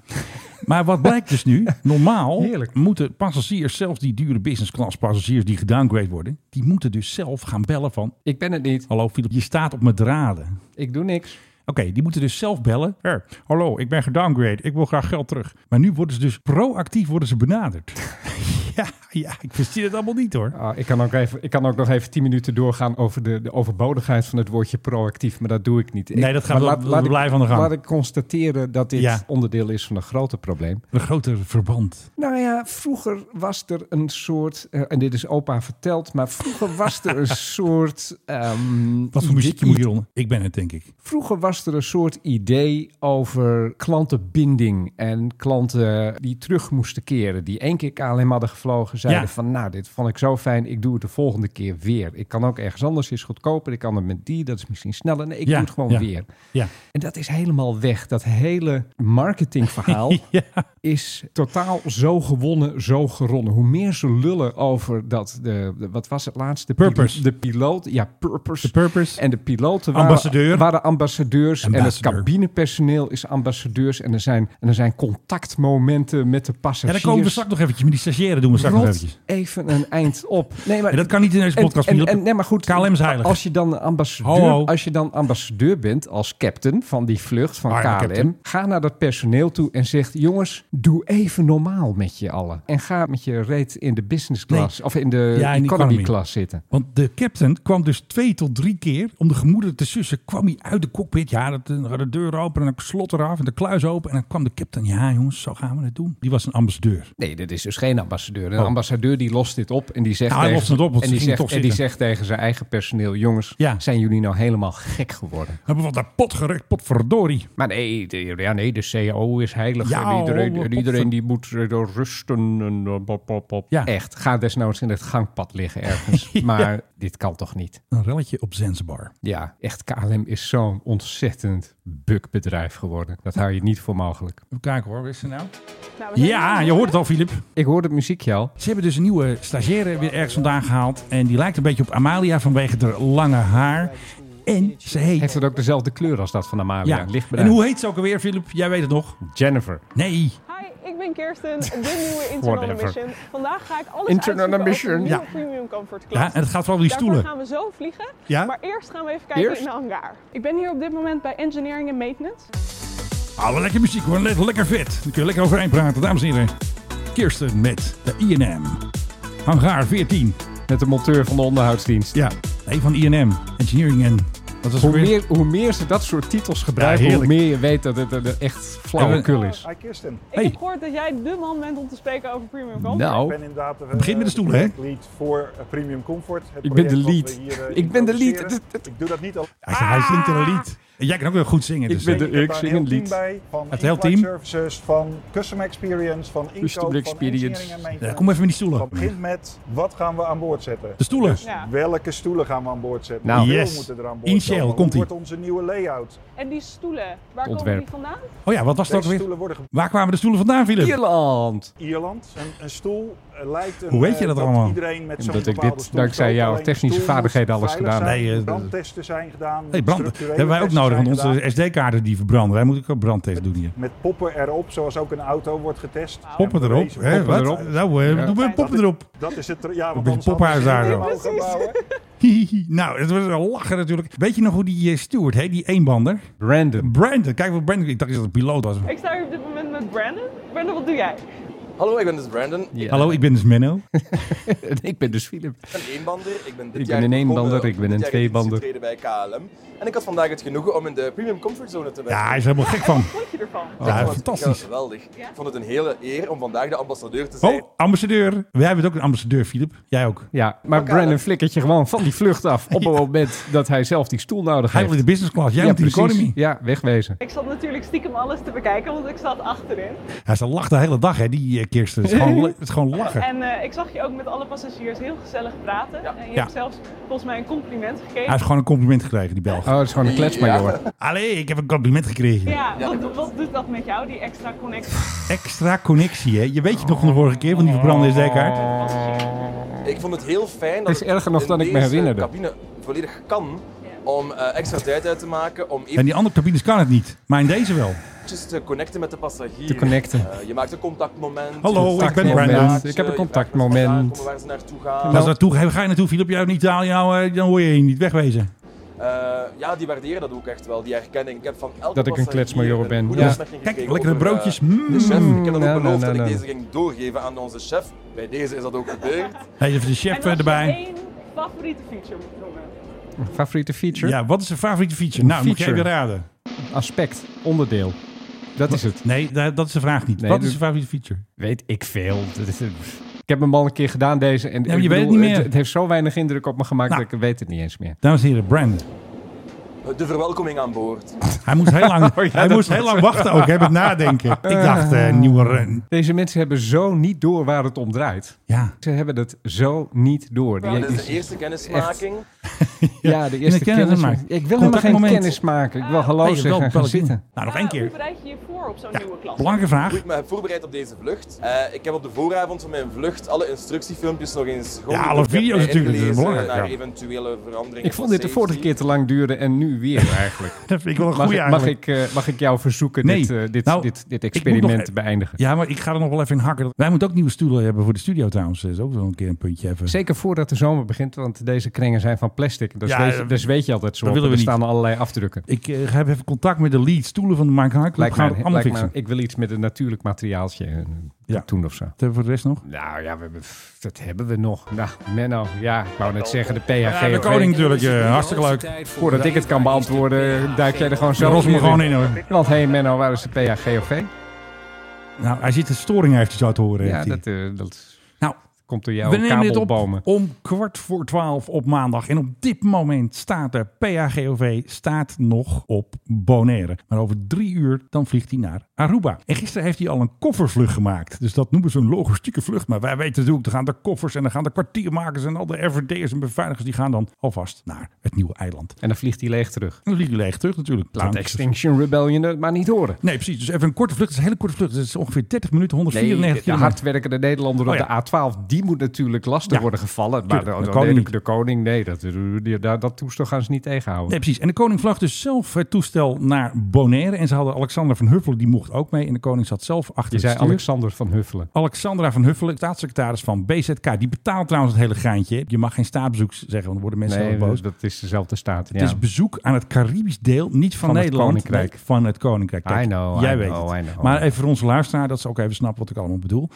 S2: Maar wat blijkt dus nu? Normaal
S3: Heerlijk.
S2: moeten passagiers, zelfs die dure business class passagiers die gedowngrade worden, die moeten dus zelf gaan bellen van,
S3: Ik ben het niet.
S2: hallo Philip, je staat op mijn draden.
S3: Ik doe niks.
S2: Oké, die moeten dus zelf bellen. Hey, hallo, ik ben gedowngrade. Ik wil graag geld terug. Maar nu worden ze dus proactief worden ze benaderd. ja, ja, ik versteer het allemaal niet hoor.
S3: Ah, ik, kan ook even, ik kan ook nog even tien minuten doorgaan over de, de overbodigheid van het woordje proactief. Maar dat doe ik niet. Ik-
S2: Nee, dat gaan
S3: maar
S2: we- we
S3: ik-
S2: blijven aan de gang.
S3: Laat ik constateren dat dit
S2: Ja.
S3: onderdeel is van een groter probleem.
S2: Een groter verband.
S3: Nou ja, vroeger was er een soort, eh, en dit is opa verteld, maar vroeger was er een soort... ehm,
S2: Wat voor
S3: idee-
S2: muziekje moet hieronder? Ik ben het, denk ik.
S3: Vroeger was er een soort idee over klantenbinding en klanten die terug moesten keren. Die één keer KLM hadden gevlogen, zeiden
S2: Ja.
S3: van nou, dit vond ik zo fijn, ik doe het de volgende keer weer. Ik kan ook ergens anders, is goedkoper, ik kan het met die, dat is misschien sneller. Nee, ik
S2: Ja,
S3: doe het gewoon
S2: ja.
S3: weer.
S2: Ja.
S3: En dat is helemaal weg. Dat hele marketingverhaal is totaal zo gewonnen, zo geronnen. Hoe meer ze lullen over dat, de, de- wat was het laatste?
S2: Purpose.
S3: De piloot, ja, purpose.
S2: De purpose.
S3: En de piloten waren,
S2: Ambassadeur.
S3: waren ambassadeurs. En het
S2: Ambassadeur.
S3: cabinepersoneel is ambassadeurs. En er zijn, en er zijn contactmomenten met de
S2: Ja,
S3: passagiers.
S2: dan komen we straks nog eventjes. Met die stagiaire doen we straks nog
S3: Rot
S2: eventjes.
S3: even een eind op. Nee, maar
S2: En dat kan niet in deze
S3: en-
S2: podcast.
S3: En,
S2: Philip.
S3: en- nee, maar goed,
S2: KLM is heilig.
S3: Als je, dan ambassadeur,
S2: Ho, ho.
S3: als je dan ambassadeur bent als captain van die vlucht van
S2: Ah, ja,
S3: KLM,
S2: captain.
S3: ga naar dat personeel toe en zeg: jongens, doe even normaal met je allen. En ga met je reet in de business class of in de
S2: Ja, in de
S3: Eh, economy,
S2: economy.
S3: class zitten.
S2: Want de captain kwam dus twee tot drie keer om de gemoederen te sussen. Kwam hij uit de cockpit. Ja, dat, dan gaat de deur open en dan slot eraf en de kluis open. En dan kwam de captain. Ja, jongens, zo gaan we het doen. Die was een ambassadeur.
S3: Nee, dit is dus geen ambassadeur. Een
S2: Oh.
S3: ambassadeur die lost dit op en die zegt,
S2: Ja, hij
S3: tegen,
S2: lost het op, want
S3: en
S2: ze
S3: die
S2: gingen
S3: zegt,
S2: toch
S3: en die
S2: zitten.
S3: zegt tegen zijn eigen personeel: jongens,
S2: Ja.
S3: zijn jullie nou helemaal gek geworden?
S2: Hebben we wat naar pot gerukt, potverdorie.
S3: Maar nee, de, ja, nee, de CAO is heilig.
S2: Ja,
S3: en iedereen,
S2: oh,
S3: en iedereen die moet eh, door rusten. En, eh, pop, pop, pop.
S2: Ja.
S3: Echt, ga desnoods in het gangpad liggen ergens. Maar dit kan toch niet?
S2: Een relletje op Zanzibar.
S3: Ja, echt, KLM is zo'n ontzettend bukbedrijf geworden. Dat hou je niet voor mogelijk.
S2: Even kijken hoor, wist ze nou? Ja, je hoort het al, Filip.
S3: Ik hoor het muziekje al.
S2: Ze hebben dus een nieuwe stagiaire weer ergens vandaan gehaald. En die lijkt een beetje op Amalia vanwege haar lange haar. En ze heet...
S3: Heeft het ook dezelfde kleur als dat van Amalia?
S2: Ja,
S3: Lichtbruin.
S2: en hoe heet ze ook alweer, Filip? Jij weet het nog.
S3: Jennifer.
S2: Nee,
S6: Hi, ik ben Kirsten, de nieuwe Internal
S3: Whatever.
S6: Mission. Vandaag ga ik alles
S3: Internal
S6: uitzoeken over
S3: Mission.
S6: de nieuwe
S2: Ja.
S6: premium comfort class.
S2: ja, en het gaat vooral om die
S6: Daarvoor
S2: stoelen.
S6: gaan we zo vliegen,
S2: Ja?
S6: maar eerst gaan we even kijken
S3: Eerst?
S6: in de hangar. Ik ben hier op dit moment bij Engineering and Maintenance.
S2: Ah, wel lekker muziek hoor, Let- lekker vet. Dan kun je lekker overeind praten, dames en heren. Kirsten met de INM. Hangaar 14.
S3: Met de monteur van de onderhoudsdienst.
S2: Ja. Nee, van INM. Engineering en... Dat was
S3: Hoe meer, hoe meer ze dat soort titels gebruiken,
S2: Ja,
S3: hoe
S2: heerlijk.
S3: meer je weet dat het eh, echt flauwekul is.
S8: Hi Kirsten.
S6: Ik
S2: Hey.
S6: heb gehoord dat jij de man bent om te spreken over premium comfort.
S8: Ik
S3: Nou,
S8: ben inderdaad de,
S2: Begin met de stoel, hè?
S8: project lead voor eh, Premium Comfort. Het
S3: Ik ben de
S8: project
S3: lead.
S8: wat we hier, eh,
S3: Ik ben de lead.
S8: introduceren.
S3: Het- het-
S8: Ik doe dat niet al.
S2: Hij, hij zingt er een lied. En jij kan ook wel goed zingen.
S3: Ah! Ik
S2: Dus,
S3: ben
S2: eh,
S3: de-
S8: Ik heb
S3: ik
S8: daar
S3: zing
S8: heel
S3: een
S8: team
S3: lied.
S8: bij van
S2: Het hele
S8: in-flight
S2: team?
S8: services, van customer experience, van inkoop,
S3: Customer
S8: van
S3: experience.
S8: engineering en
S2: ja,
S8: maintenance.
S2: kom even in die
S8: Van
S2: stoelen.
S8: begin met wat gaan we aan boord zetten?
S2: De stoelen.
S8: Dus
S6: Ja.
S8: welke stoelen gaan we aan boord zetten?
S3: Nou.
S8: Hoeveel
S2: Yes.
S8: moeten er aan boord
S2: In Shell,
S8: komen?
S2: komt-ie.
S8: Hoe wordt onze nieuwe layout?
S6: En die stoelen, waar
S3: Ontwerp.
S6: komen die vandaan?
S2: Oh ja, wat was dat
S8: Deze
S2: weer?
S8: stoelen worden gebruikt
S2: Waar kwamen de stoelen vandaan, Philip?
S3: Ierland.
S8: in Ierland. Een, een stoel eh, lijkt een,
S2: Hoe weet je
S8: eh,
S2: dat allemaal?
S8: Iedereen met zo'n
S3: Omdat ik
S8: bepaalde
S3: dit
S8: stoel
S3: dankzij
S8: speelt.
S3: jouw
S8: Alleen de
S3: technische
S8: stoel moet
S3: vaardigheden alles
S8: veilig
S3: gedaan.
S8: zijn.
S2: Nee, eh,
S8: brandtesten zijn gedaan.
S2: Hey, brand, dat
S8: structurele
S2: hebben wij ook
S8: testen
S2: nodig, want
S8: zijn gedaan.
S2: onze SD-kaarten die verbranden. Wij moeten ook een brandtest doen hier.
S8: Met poppen erop, zoals ook een auto wordt getest.
S2: Poppen
S8: En
S2: erop.
S8: bewezen-
S2: Hè,
S3: Poppen
S2: wat?
S3: erop.
S2: Nou, eh,
S3: Ja.
S2: doen we poppen erop.
S8: Dat is het. Ja,
S2: Een
S8: want
S2: beetje
S8: anders hadden ze
S2: pophuis
S8: geen
S2: daar
S8: mogen bouwen.
S2: Hihihi. Nou, het was een lachen natuurlijk. Weet je nog hoe die eh, steward heet, die eenbander?
S3: Random.
S2: Brandon, kijk wat Brandon. Ik dacht dat het een piloot was.
S6: Ik sta hier op dit moment met Brandon. Brandon, wat doe jij?
S9: Hallo, ik ben dus Brandon.
S2: Hallo, ik ben dus Menno.
S3: ik ben dus Philip.
S9: Ik ben een eenbander. Ik ben dit
S3: Ik
S9: jaar
S3: ben een
S9: begonnen
S3: eenbander,
S9: om
S3: ik ben een
S9: dit jaar in dienst
S3: tweebander.
S9: te treden bij KLM. En ik had vandaag het genoegen om in de premium comfortzone te werken.
S2: Ja, hij is er helemaal gek van.
S6: Wat vond je ervan?
S2: ja,
S9: Ik vond het
S2: fantastisch.
S9: Geweldig. Ik vond het een hele eer om vandaag de ambassadeur te zijn.
S2: Oh, ambassadeur. Wij hebben ook een ambassadeur, Filip. Jij ook.
S3: Ja, maar Brandon flikkert je gewoon van die vlucht af op het moment dat hij zelf die stoel nodig
S2: Hij
S3: heeft.
S2: wil in de business class. Jij
S3: ja,
S2: moet in de economy.
S3: Ja, wegwezen.
S6: Ik zat natuurlijk stiekem alles te bekijken, want ik zat achterin.
S2: Ja, ze lacht de hele dag, hè, die eh, Kirsten. Het is gewoon, het is gewoon lachen.
S6: En eh, ik zag je ook met alle passagiers heel gezellig praten. En je
S2: Ja.
S6: hebt zelfs volgens mij een compliment
S2: Hij
S6: gegeven.
S2: heeft gewoon een compliment gekregen, die Belg.
S3: Oh, dat is gewoon een kletsmajor.
S2: Allee, ik heb een compliment gekregen.
S6: Ja, wat, wat doet dat met jou, die extra connectie?
S2: Extra connectie, hè. Je weet het nog van de vorige keer, van die verbrande SD-kaart.
S9: Ik vond het heel fijn dat
S3: Het is erger nog
S9: in
S3: dan ik me
S9: deze
S3: herinnerde.
S9: cabine volledig kan om eh, extra tijd uit te maken, om
S2: En die andere cabines kan het niet. Maar in deze wel.
S9: eventjes te connecten met de passagier.
S3: Te connecten.
S9: Eh, je maakt een contactmoment.
S2: Hallo,
S9: Je
S2: ik ben
S9: vraagt
S2: Brandon.
S9: contactje,
S3: Ik heb een
S9: Dus, eh, je vraagt
S3: contactmoment.
S9: waar ze vandaan komen, Waar ze naartoe gaan.
S2: Als naartoe, ga ga je naartoe, Filip? Jij in Italië, nou, eh, dan hoor je je niet wegwezen.
S9: Eh, ja, die waarderen dat ook echt wel, die herkenning. Ik heb van elke
S3: Dat ik een
S9: passagier
S3: kletsmajor ben.
S9: goede
S3: Ja. nou,
S9: opmerking
S2: Kijk,
S9: gekregen
S2: lekkere
S9: over, eh,
S2: broodjes. Mm.
S9: de chef. Ik heb dan
S3: Nee,
S9: ook
S3: nee,
S9: beloofd dat
S3: nee,
S9: ik
S3: nee.
S9: deze ging doorgeven aan onze chef. Bij deze is dat ook gebeurd.
S2: Hij heeft de chef
S6: en
S2: eh,
S6: als je
S2: erbij.
S6: één favoriete feature moet noemen.
S3: mm. Favoriete feature?
S2: Ja, wat is zijn favoriete feature? Nou, moet jij
S3: Feature.
S2: weer raden.
S3: Aspect, onderdeel. Dat is het.
S2: Nee, da- dat is de vraag niet.
S3: Nee, dus-
S2: wat is
S3: dat-
S2: zijn favoriete feature?
S3: Weet ik veel. Dat is- Ik heb hem al een keer gedaan deze. En
S2: maar
S3: ik
S2: je weet het niet meer.
S3: Het, het heeft zo weinig indruk op me gemaakt
S2: Nou.
S3: dat ik weet het niet eens meer.
S2: Dames en heren, Brandon.
S9: De verwelkoming aan boord.
S2: Hij moest heel lang,
S3: Oh, ja,
S2: hij
S3: dat
S2: moest heel lang wachten ook, hè, met nadenken. Ik dacht, eh nieuwe run.
S3: Deze mensen hebben zo niet door waar het om draait.
S2: Ja.
S3: Ze hebben het zo niet door. Die-
S9: Dit is de eerste kennismaking.
S3: ja, de eerste
S2: de kennis
S3: kennis.
S2: maken.
S3: Ik wil helemaal geen
S2: Contactmoment.
S3: kennis maken. Ik wil hallo
S2: Nee, je hebt
S3: zeggen
S2: wel
S3: en
S2: wel
S3: gaan zitten.
S2: Nou, nog één
S6: Ah, Hoe
S2: keer.
S6: bereid je je voor op zo'n nieuwe klas?
S2: Belangrijke vraag.
S9: Ik me heb voorbereid op deze vlucht. Eh, ik heb op de vooravond van mijn vlucht alle instructiefilmpjes nog eens gewoon.
S2: alle video's natuurlijk, dat is belangrijk,
S9: Naar
S2: ja.
S9: eventuele veranderingen.
S3: Ik vond
S9: van
S3: dit de vorige
S9: safety.
S3: keer te lang duren en nu weer eigenlijk.
S2: Dat vind ik wel een
S3: Mag,
S2: goeie
S3: ik, mag,
S2: eigenlijk.
S3: ik, eh, mag ik jou verzoeken
S2: Nee.
S3: dit, eh, dit,
S2: Nou,
S3: dit,
S2: ik
S3: dit
S2: moet
S3: experiment
S2: nog- e-
S3: te beëindigen?
S2: Ja, maar ik ga er nog wel even in hakken. Wij moeten ook nieuwe stoelen hebben voor de studio trouwens. Dat is ook wel een keer een puntje even.
S3: Zeker voordat de zomer begint, want deze krengen zijn van plastic. Dus,
S2: Ja,
S3: weet, je,
S2: eh,
S3: dus weet je altijd zo.
S2: dat
S3: op.
S2: willen
S3: Er
S2: we niet.
S3: staan allerlei afdrukken.
S2: Ik eh, heb even contact met de lead stoelen van de Mike High Club.
S3: Lijkt
S2: Gaan
S3: mij,
S2: we het allemaal
S3: lijkt mij-
S2: fixen.
S3: ik wil iets met een natuurlijk materiaaltje. eh,
S2: Ja.
S3: Toen of zo.
S2: Wat hebben we voor de rest nog?
S3: Nou ja, we, hebben- pff, dat hebben we nog. Nou, Menno, ja, ik wou net zeggen de PHG.
S2: Nou, Ja, de
S3: of
S2: koning
S3: weet-
S2: natuurlijk. eh, hartstikke leuk.
S3: Voordat ik het kan beantwoorden, duik jij er gewoon
S2: Zo
S3: zo
S2: rossen we
S3: weer
S2: gewoon in hoor.
S3: Want hé hey Menno, waar is de PHGOV?
S2: Nou, hij zit een storing heeft hij zo te horen.
S3: Ja,
S2: heeft hij.
S3: dat, eh, dat
S2: Nou,
S3: komt door
S2: we
S3: jouw
S2: nemen dit op
S3: kabelbomen.
S2: om kwart voor twaalf op maandag. En op dit moment staat de PAGOV staat nog op Bonaire. Maar over drie uur dan vliegt hij naar Aruba. En gisteren heeft hij al een koffervlucht gemaakt. Dus dat noemen ze een logistieke vlucht. Maar wij weten natuurlijk, er gaan de koffers en er gaan de kwartiermakers... en al de RVD'ers en beveiligers, die gaan dan alvast naar het nieuwe eiland. En
S3: En dan vliegt hij leeg terug.
S2: dan vliegen leeg terug natuurlijk.
S3: Laat
S2: Dank-
S3: Extinction Rebellion het maar niet horen.
S2: Nee, precies. Dus even een korte vlucht. Het is een hele korte vlucht. Het is ongeveer 30 minuten,
S3: Nee,
S2: 194
S3: de
S2: kilometer.
S3: hardwerkende Nederlander op
S2: Oh ja.
S3: de A12, die moet natuurlijk lastig
S2: Ja.
S3: worden gevallen. Maar
S2: Tuurlijk,
S3: de,
S2: de
S3: de,
S2: koning
S3: nee,
S2: niet.
S3: de, de koning, nee, dat, eh, die, dat, dat toestel gaan ze niet tegenhouden.
S2: Nee, precies. En de koning vloog dus zelf het toestel naar Bonaire. En ze hadden Alexander van Huffelen, die mocht ook mee. En de koning zat zelf achter
S3: Je
S2: het
S3: zei
S2: stuur.
S3: Alexander van Huffelen.
S2: Alexandra van Huffelen, staatssecretaris van BZK. Die betaalt trouwens het hele geintje. hè. Je mag geen staatsbezoek zeggen, want dan worden mensen
S3: Nee,
S2: heel boos.
S3: dat is dezelfde staat.
S2: Het is bezoek aan het Caribisch deel, niet van,
S3: Van het
S2: Nederland.
S3: Koninkrijk.
S2: nee, van het Koninkrijk. Kijk,
S3: I know,
S2: jij
S3: I
S2: weet
S3: know,
S2: het.
S3: I know.
S2: Maar even voor onze luisteraar, dat ze ook even snappen wat ik allemaal bedoel.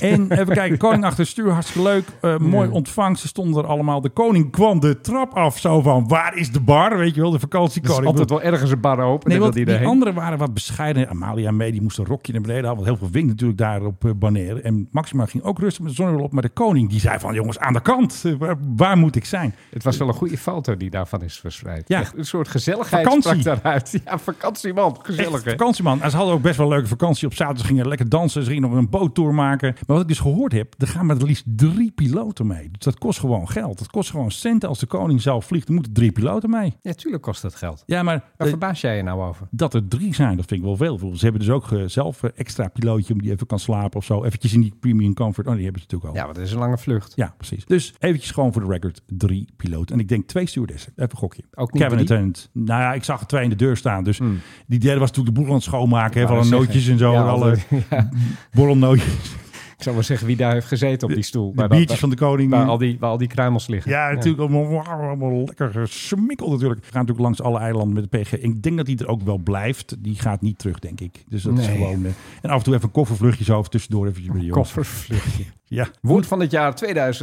S2: En even kijken, koning achter het stuur, hartstikke leuk. Eh, mooi ontvangst, ze stonden er allemaal. De koning kwam de trap af, zo van, waar is de bar? Weet je wel, de
S3: Het is
S2: vakantiekoning.
S3: altijd wel ergens een bar open.
S2: Nee,
S3: Nee,
S2: want
S3: die
S2: die
S3: daarheen.
S2: anderen waren wat bescheiden. Amalia mee, die moest een rokje naar beneden halen. Want heel veel wing natuurlijk daar op eh, Bonaire. En Maxima ging ook rustig met de zonnebril op. Maar de koning die zei van, jongens, aan de kant. Eh, Waar, waar moet ik zijn?
S3: Het was wel een goede foto die daarvan is verspreid.
S2: Ja.
S3: Echt een soort gezelligheid
S2: Vakantie.
S3: sprak daaruit. Ja, vakantie man. Gezellig
S2: Echt
S3: hè?
S2: vakantieman. En ze hadden ook best wel een leuke vakantie. Op zaterdag gingen ze lekker dansen. Ze gingen nog een boottour maken. Maar wat ik dus gehoord heb, er gaan maar liefst drie piloten mee. Dus dat kost gewoon geld. Dat kost gewoon centen. Als de koning zelf vliegt, dan moeten drie piloten mee.
S3: Ja, tuurlijk kost dat geld.
S2: Ja, maar...
S3: Waar
S2: eh,
S3: verbaas jij je nou over?
S2: dat er drie zijn, dat vind ik wel veel. Ik bedoel, Ze hebben dus ook eh, zelf eh, extra pilootje om die even kan slapen of zo. Eventjes in die premium comfort. Oh, die hebben ze natuurlijk al.
S3: Ja, want het is een lange vlucht.
S2: Ja, precies. Dus eventjes gewoon voor de record, drie piloten. En ik denk twee stewardessen. Even een gokje.
S3: Ook niet
S2: Cabinet
S3: drie?
S2: attendant. Nou ja, ik zag er twee in de deur staan. Dus die derde was toen de boel aan het schoonmaken. hè, Van alle
S3: wou
S2: nootjes en
S3: zeggen.
S2: zo.
S3: Ja,
S2: en alle borrelnootjes.
S3: Ik zou wel zeggen wie daar heeft gezeten op die stoel.
S2: De
S3: Waar dat-
S2: biertjes van de koning.
S3: waar, waar al die, waar al die kruimels liggen.
S2: Ja, natuurlijk. Allemaal, allemaal lekker gesmikkeld natuurlijk. We gaan natuurlijk langs alle eilanden met de PG. Ik denk dat die er ook wel blijft. Die gaat niet terug, denk ik. Dus dat is
S3: Nee.
S2: gewoon... eh, en af en toe even een koffervluchtje zo of tussendoor eventjes bij de jongens.
S3: Koffervluchtje.
S2: Ja.
S3: Woord van het jaar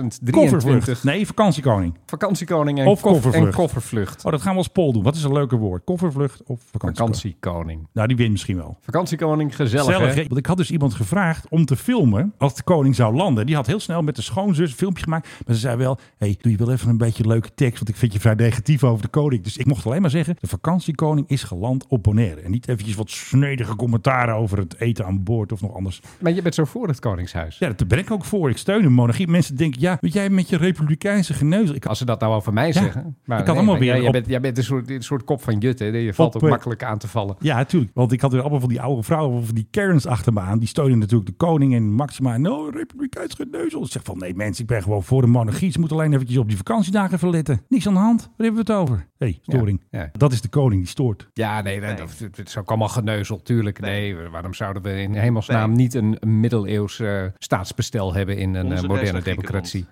S3: 2023.
S2: Koffervlucht. Nee, vakantiekoning.
S3: Vakantiekoning en,
S2: Of
S3: kof-
S2: koffervlucht.
S3: en koffervlucht.
S2: Oh, dat gaan we als poll doen. Wat is een leuker woord? Koffervlucht of vakantiekoning?
S3: Vakantiekoning.
S2: Nou, die wint misschien wel.
S3: Vakantiekoning, gezellig,
S2: Gezellig,
S3: hè?
S2: hè? Want ik had dus iemand gevraagd om te filmen als de koning zou landen. Die had heel snel met de schoonzus een filmpje gemaakt. Maar ze zei wel, hey, doe je wel even een beetje leuke tekst, want ik vind je vrij negatief over de koning. Dus ik mocht alleen maar zeggen, de vakantiekoning is geland op Bonaire. En niet eventjes wat snedige commentaren over het eten aan boord of nog anders.
S3: Maar je bent zo voor het Koningshuis.
S2: Ja, daar ben ik ook voor. Ik steun de monarchie. Mensen denken, ja, weet jij met je republikeinse geneuzel. Ik
S3: Als ze dat nou over mij zeggen. Maar
S2: ik had allemaal weer
S3: jij, jij
S2: op-
S3: bent, jij bent een soort, een soort kop van jut, hè? Je valt
S2: Op,
S3: ook
S2: eh,
S3: makkelijk aan te vallen.
S2: Ja, natuurlijk. Want ik had weer allemaal van die oude vrouwen, of die Karens achter me aan. Die steunen natuurlijk de koning en Maxima. No, republikeins geneuzel. Ik zeg van, nee mensen, ik ben gewoon voor de monarchie. Ze moeten alleen eventjes op die vakantiedagen even letten. Niks aan de hand. Waar hebben we het over? Hé, hey, storing.
S3: Ja, ja.
S2: Dat is de koning, die stoort.
S3: Ja, nee, nee, dat, het, het is ook allemaal geneuzel, tuurlijk. Nee. waarom zouden we in hemelsnaam niet een middeleeuws eh, staatsbestel hebben in een eh, moderne democratie?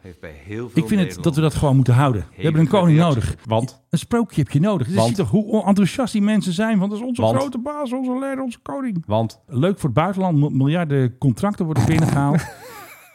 S2: Ik vind het dat we dat gewoon moeten houden. We hebben een koning nodig.
S3: Want?
S2: Een sprookje heb je nodig. Dus
S3: Want?
S2: zie toch hoe enthousiast die mensen zijn. Want dat is onze
S3: Want?
S2: grote baas, onze leider, onze koning.
S3: Want,
S2: Leuk voor het buitenland. mil- Miljarden contracten worden binnengehaald.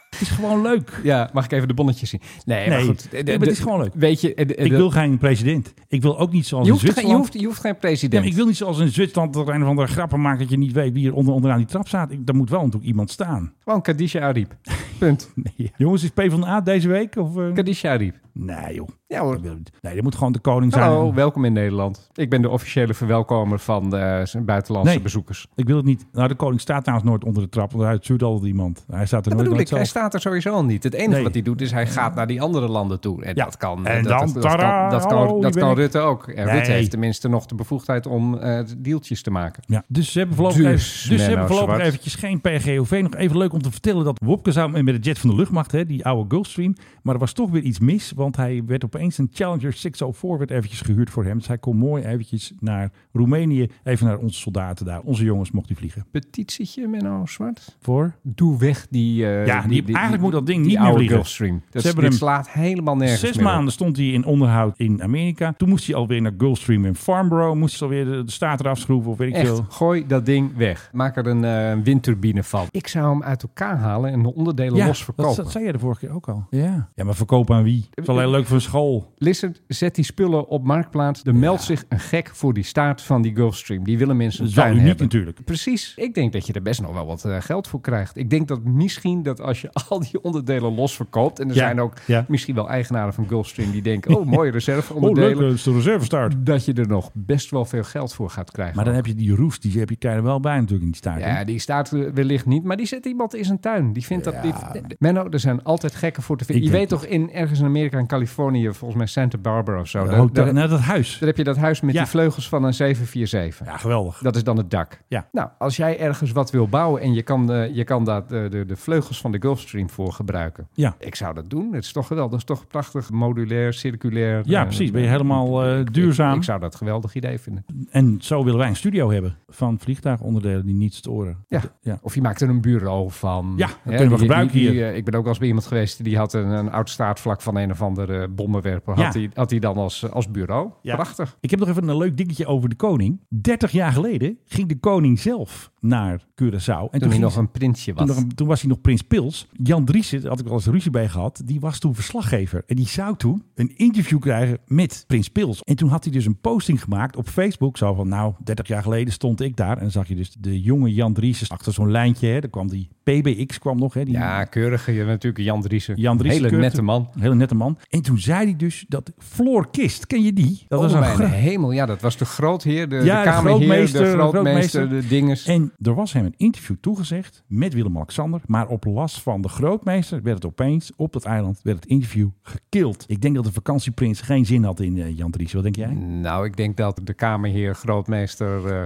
S2: Het is gewoon leuk.
S3: ja, mag ik even de bonnetjes zien? Nee, maar
S2: Nee.
S3: goed. eh,
S2: Nee, maar het is gewoon leuk.
S3: Weet je, eh, de-
S2: Ik
S3: de-
S2: wil geen president. Ik wil ook niet zoals
S3: je,
S2: in
S3: hoeft geen, je,
S2: Zwitserland.
S3: hoeft, je hoeft geen
S2: Ja,
S3: president.
S2: maar ik wil niet zoals in Zwitserland dat er een of andere grappen maakt dat je niet weet wie er onder, onderaan die trap staat. Ik, daar moet wel natuurlijk iemand staan.
S3: Gewoon Kadisha Ariep. Punt.
S2: Nee. Jongens, is PvdA deze week? Of, eh?
S3: Kadisha Ariep.
S2: Nee joh.
S3: Ja hoor.
S2: Dat wil ik niet. Nee, dat moet gewoon de koning zijn.
S3: Hallo, welkom in Nederland. Ik ben de officiële verwelkomer van eh, zijn buitenlandse
S2: Nee.
S3: bezoekers.
S2: Ik wil het niet. Nou, de koning staat trouwens nooit onder de trap, want hij stuurt altijd iemand. Hij staat er nooit,
S3: Dat bedoel ik,
S2: nooit
S3: hij
S2: zelf.
S3: staat er sowieso al niet. Het enige
S2: Nee.
S3: wat hij doet is hij gaat naar die andere landen toe. En
S2: Ja.
S3: dat kan, eh,
S2: En
S3: dat,
S2: dan,
S3: dat, dat
S2: tadaa,
S3: kan, dat
S2: hallo,
S3: kan,
S2: hier
S3: dat
S2: ben
S3: kan
S2: ik.
S3: Rutte ook. En
S2: Nee.
S3: Rutte heeft tenminste nog de bevoegdheid om eh, deeltjes te maken.
S2: Ja, dus ze hebben voorlopig,
S3: Dus,
S2: even, dus ze
S3: Menno
S2: hebben voorlopig
S3: Zwart.
S2: eventjes geen PGOV. Nog even leuk om te vertellen dat Wopke zou met de jet van de luchtmacht, hè, die oude Gulfstream. Maar er was toch weer iets mis, want hij werd opeens een Challenger 604 werd eventjes gehuurd voor hem. Dus hij kon mooi eventjes naar Roemenië, even naar onze soldaten daar. Onze jongens mocht hij vliegen.
S3: Petitietje, Menno Zwart.
S2: Voor?
S3: Doe weg die... eh,
S2: Ja, die- eigenlijk moet dat ding
S3: die
S2: niet meer
S3: oude
S2: vliegen.
S3: Gulfstream. Dat
S2: Ze
S3: is,
S2: hebben
S3: dit
S2: hem
S3: slaat helemaal nergens
S2: Zes
S3: meer op.
S2: maanden stond hij in onderhoud in Amerika. Toen moest hij alweer naar Gulfstream in Farnborough. Moest hij alweer de, de staat eraf schroeven of weet ik
S3: Echt,
S2: veel.
S3: gooi dat ding weg. Maak er een eh, windturbine van. Ik zou hem uit elkaar halen en de onderdelen los verkopen.
S2: dat, dat zei je de vorige keer ook al. Ja, ja maar verkopen aan wie? Het is alleen leuk voor een school.
S3: Listen, zet die spullen op marktplaats. Er meldt zich een gek voor die staart van die Gulfstream. Die willen mensen
S2: Dat is
S3: zijn
S2: wel
S3: tuin
S2: uniek
S3: hebben.
S2: natuurlijk.
S3: Precies. Ik denk dat je er best nog wel wat eh, geld voor krijgt. Ik denk dat misschien dat als je al die onderdelen los verkoopt... en er
S2: Ja,
S3: zijn ook
S2: ja.
S3: misschien wel eigenaren van Gulfstream die denken... oh, mooie reserveonderdelen.
S2: eh, is de reservestaart.
S3: dat je er nog best wel veel geld voor gaat krijgen.
S2: Maar dan heb je die roest, die heb je er wel bij natuurlijk in die staart. hè?
S3: Ja, die staat er wellicht niet, maar die zet iemand in zijn tuin. Die vindt dat dit. Menno, er zijn altijd gekken voor te vinden.
S2: Ik
S3: Je weet
S2: denk-
S3: toch in ergens in Amerika, in Californië, volgens mij Santa Barbara of zo.
S2: Een
S3: daar-
S2: hotel-
S3: daar-
S2: nou, dat huis.
S3: Dus Dan heb je dat huis met
S2: Ja.
S3: die vleugels van een 747.
S2: Ja, geweldig.
S3: Dat is dan het dak.
S2: Ja.
S3: Nou, als jij ergens wat wil bouwen en je kan, eh, je kan daar de, de, de vleugels van de Gulfstream voor gebruiken.
S2: Ja.
S3: Ik zou dat doen. Het is toch geweldig. Dat is toch prachtig, modulair, circulair.
S2: Ja,
S3: eh,
S2: precies. Ben je helemaal eh, duurzaam.
S3: Ik, ik zou dat een geweldig idee vinden.
S2: En zo willen wij een studio hebben van vliegtuigonderdelen die niet storen.
S3: Ja.
S2: Ja.
S3: Of je maakt er een bureau van.
S2: Ja, dat kunnen we
S3: die-
S2: gebruiken
S3: die- die,
S2: hier.
S3: eh, ik ben ook wel eens bij iemand geweest die had een, een oud staartvlak van een of andere bommenwerper.
S2: Ja.
S3: Had, hij, had hij dan als, eh, als bureau.
S2: Ja.
S3: Prachtig.
S2: Ik heb nog even een leuk dingetje over de koning. 30 jaar geleden ging de koning zelf naar Curaçao. En
S3: Toen, hij
S2: ging
S3: nog
S2: ze-
S3: een prinsje was.
S2: Toen, nog een- toen was hij nog prins Pils. Jan Driessen, daar had ik wel eens ruzie bij gehad, die was toen verslaggever. En die zou toen een interview krijgen met prins Pils. En toen had hij dus een posting gemaakt op Facebook. Zo van, nou, 30 jaar geleden stond ik daar. En dan zag je dus de jonge Jan Driessen achter zo'n lijntje. Hè. Daar kwam die PBX kwam nog. Hè, die
S3: Ja, keurige. Je hebt natuurlijk Jan Driessen.
S2: Jan Driessen,
S3: Hele
S2: keurig.
S3: nette man.
S2: Een hele nette man. En toen zei hij dus dat Floor Kist, ken je die? Dat was
S3: oh,
S2: een
S3: mijn
S2: groot...
S3: hemel. Ja, dat was de grootheer, de,
S2: Ja,
S3: de
S2: de
S3: kamerheer, de
S2: grootmeester, de
S3: grootmeester,
S2: grootmeester.
S3: de dinges.
S2: En er was hem een interview toegezegd met Willem-Alexander. Maar op last van de grootmeester werd het opeens op dat eiland werd het interview gekild. Ik denk dat de vakantieprins geen zin had in eh, Jan Dries. Wat denk jij?
S3: Nou, ik denk dat de kamerheer, grootmeester, eh,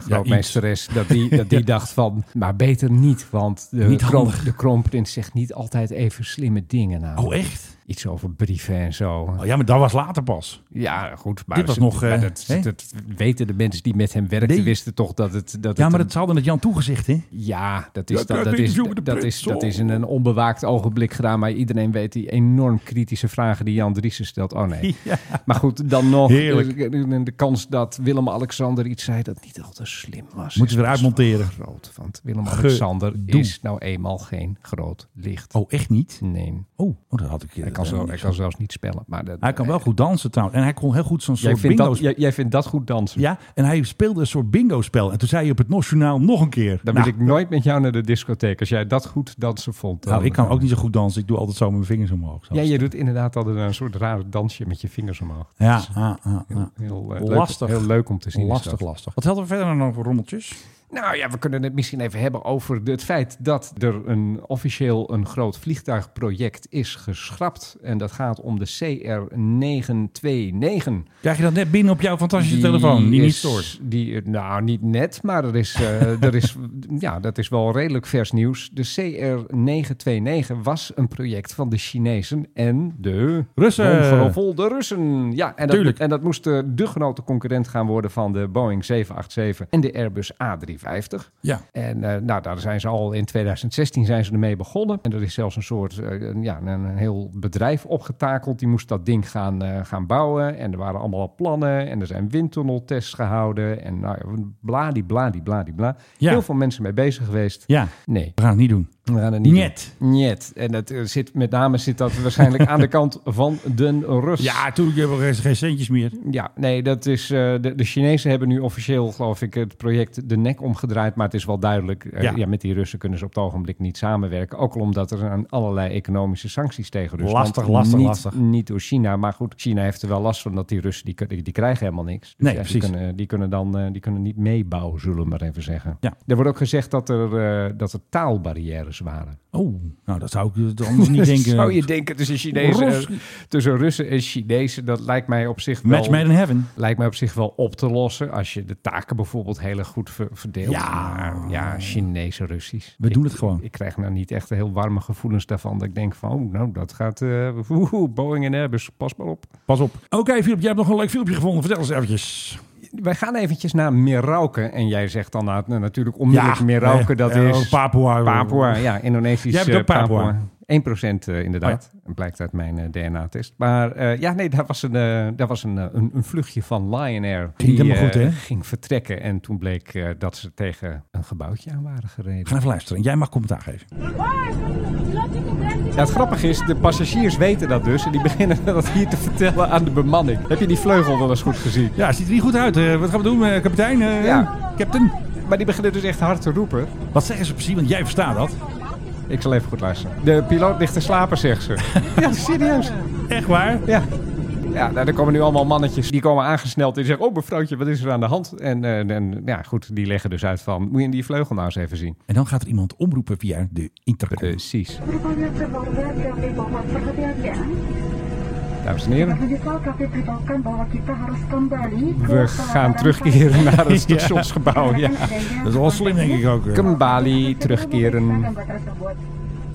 S3: grootmeesteres, dat die, dat die dacht van, maar beter niet, want de,
S2: Niet
S3: kroon,
S2: handig.
S3: de kroonprins zegt niet altijd even slimme dingen. Nou.
S2: Oh, echt?
S3: Iets over brieven en zo.
S2: Oh ja, maar dat was later pas.
S3: Ja, goed. Maar
S2: Dit was
S3: ze-
S2: nog,
S3: maar
S2: eh,
S3: dat,
S2: hè?
S3: dat weten de mensen die met hem werkten,
S2: Nee.
S3: wisten toch dat het... Dat
S2: Ja,
S3: het
S2: maar
S3: een-
S2: dat hadden het Jan toegezegd, hè?
S3: Ja, dat is,
S2: Ja,
S3: dat,
S2: ik
S3: dat,
S2: heb
S3: is,
S2: interview met de
S3: dat,
S2: prins,
S3: is, dat
S2: hoor.
S3: is in een onbewaakt ogenblik gedaan. Maar iedereen weet die enorm kritische vragen die Jan Driessen stelt. Oh nee. Maar goed, dan nog
S2: Heerlijk.
S3: eh, de, de kans dat Willem-Alexander iets zei dat niet al te slim was.
S2: Moeten
S3: is
S2: we eruit
S3: best wel
S2: monteren.
S3: Groot, want Willem-Alexander
S2: Gedoe.
S3: is nou eenmaal geen groot licht.
S2: Oh, echt niet?
S3: Nee,
S2: Oh, oh, dat had ik.
S3: hij
S2: dat
S3: kan,
S2: had
S3: zo,
S2: ik
S3: hij
S2: niet.
S3: kan zelfs niet spellen. Maar dat, eh,
S2: Hij kan wel goed dansen trouwens. En hij kon heel goed zo'n
S3: Jij
S2: soort
S3: vindt,
S2: bingo
S3: dat, jij, jij vindt dat goed dansen.
S2: Ja, en hij speelde een soort bingo-spel. En toen zei hij op het Nationaal nog een keer.
S3: Dan
S2: Nou,
S3: wil ik nooit met jou naar de discotheek. Als jij dat goed dansen vond. dan-
S2: nou, ik kan ook niet zo goed dansen. Ik doe altijd zo met mijn vingers omhoog. zo.
S3: Ja, je doet inderdaad altijd een soort rare dansje met je vingers omhoog.
S2: ja, ah, ah, ah.
S3: Heel, heel, eh,
S2: Lastig.
S3: Leuk, heel leuk om te zien. is
S2: lastig,
S3: dat.
S2: lastig. Wat hadden we verder nog voor rommeltjes?
S3: Nou ja, we kunnen het misschien even hebben over het feit dat er een, officieel een groot vliegtuigproject is geschrapt. En dat gaat om de CR929.
S2: Krijg je dat net binnen op jouw fantastische
S3: Die
S2: telefoon? Die niet
S3: is-
S2: stoort.
S3: Die, nou, niet net, maar er is, eh, er is, ja, dat is wel redelijk vers nieuws. De CR929 was een project van de Chinezen en de
S2: Russen.
S3: Ongelooflijk, de Russen. Ja, en dat,
S2: Tuurlijk.
S3: en dat moest eh, de, de grote concurrent gaan worden van de Boeing 787 en de Airbus A350.
S2: Ja.
S3: En eh, nou, daar zijn ze al in 2016 zijn ze ermee begonnen. En er is zelfs een soort, eh, een- ja, een, een heel bedrijf opgetakeld. Die moest dat ding gaan, eh, gaan bouwen. En er waren allemaal al plannen. En er zijn windtunneltests gehouden. En nou ja, bladibladibladibla.
S2: Ja.
S3: Heel veel mensen mee bezig geweest.
S2: Ja,
S3: Nee,
S2: we gaan het niet doen.
S3: we gaan het niet
S2: Niet.
S3: doen. Niet. En dat eh, zit, met name zit dat waarschijnlijk aan de kant van de Rus.
S2: Ja, natuurlijk hebben we geen- geen centjes meer.
S3: Ja, nee, dat is. eh, de, de Chinezen hebben nu officieel, geloof ik, het project de nek omgedraaid. Maar het is wel duidelijk. eh,
S2: Ja.
S3: ja. met die Russen kunnen ze op het ogenblik niet samenwerken. Ook al omdat er aan allerlei economische sancties tegen Rusland.
S2: Lastig, lastig,
S3: niet,
S2: lastig.
S3: Niet door China. Maar goed, China heeft er wel last van dat die Russen. die, kun- die, die krijgen helemaal niks. Dus
S2: Nee,
S3: ja,
S2: precies.
S3: Die kunnen, die kunnen dan eh, die kunnen niet meebouwen, zullen we maar even zeggen.
S2: Ja.
S3: Er wordt ook gezegd dat er, eh, dat er taalbarrières waren.
S2: Oh, nou, dat zou ik eh, anders niet
S3: Dus
S2: denken.
S3: Zou je denken tussen, Chinezen,
S2: Rus-
S3: en- tussen Russen en Chinezen? Dat lijkt mij op zich wel
S2: Match made in heaven.
S3: lijkt mij op zich wel op te lossen als je de taken bijvoorbeeld heel goed ver- verdeelt.
S2: Ja.
S3: Maar ja Chinees en Russisch.
S2: We
S3: Ik-
S2: doen het gewoon.
S3: Ik krijg nou niet echt heel warme gevoelens daarvan. Dat ik denk van, oh, nou, dat gaat... eh, woehoe, Boeing en Airbus, pas maar op.
S2: Pas op. Oké, Filip, jij hebt nog een leuk filmpje gevonden. Vertel eens eventjes.
S3: Wij gaan eventjes naar Merauke. En jij zegt dan nou, natuurlijk onmiddellijk Merauke,
S2: nee,
S3: dat
S2: eh,
S3: is...
S2: Papua.
S3: Papua, ja, Indonesisch.
S2: Jij bent
S3: eh,
S2: ook Papua. Oh
S3: 1% eh, inderdaad. Blijkt uit mijn eh, DNA-test. Maar eh, ja, nee, daar was een, eh, daar was een, eh, een, een vluchtje van Lion Air.
S2: Ging
S3: die,
S2: helemaal
S3: eh,
S2: goed, hè?
S3: Ging vertrekken. En toen bleek eh, dat ze tegen een gebouwtje aan waren gereden.
S2: We gaan even luisteren. Jij mag commentaar geven.
S3: Ja, het grappige is, de passagiers weten dat dus. En die beginnen dat hier te vertellen aan de bemanning. Heb je die vleugel wel eens goed gezien?
S2: Ja, ziet er niet goed uit. Eh, wat gaan we doen, eh, kapitein? Eh,
S3: Ja.
S2: Captain?
S3: Maar die beginnen dus echt hard te roepen.
S2: Wat zeggen ze precies? Want jij verstaat dat.
S3: Ik zal even goed luisteren. De piloot ligt te slapen, zegt ze. ja, serieus.
S2: Echt waar?
S3: Ja. Ja, nou, er komen nu allemaal mannetjes. Die komen aangesneld en die zeggen... Oh, mevrouwtje, wat is er aan de hand? En, eh, en ja, goed, die leggen dus uit van... Moet je die vleugel nou eens even zien?
S2: En dan gaat er iemand omroepen via de intercom.
S3: Precies. Dames en heren, we gaan terugkeren naar het stationsgebouw. Ja.
S2: Dat is wel slim, denk ik ook. eh.
S3: Kembali, terugkeren.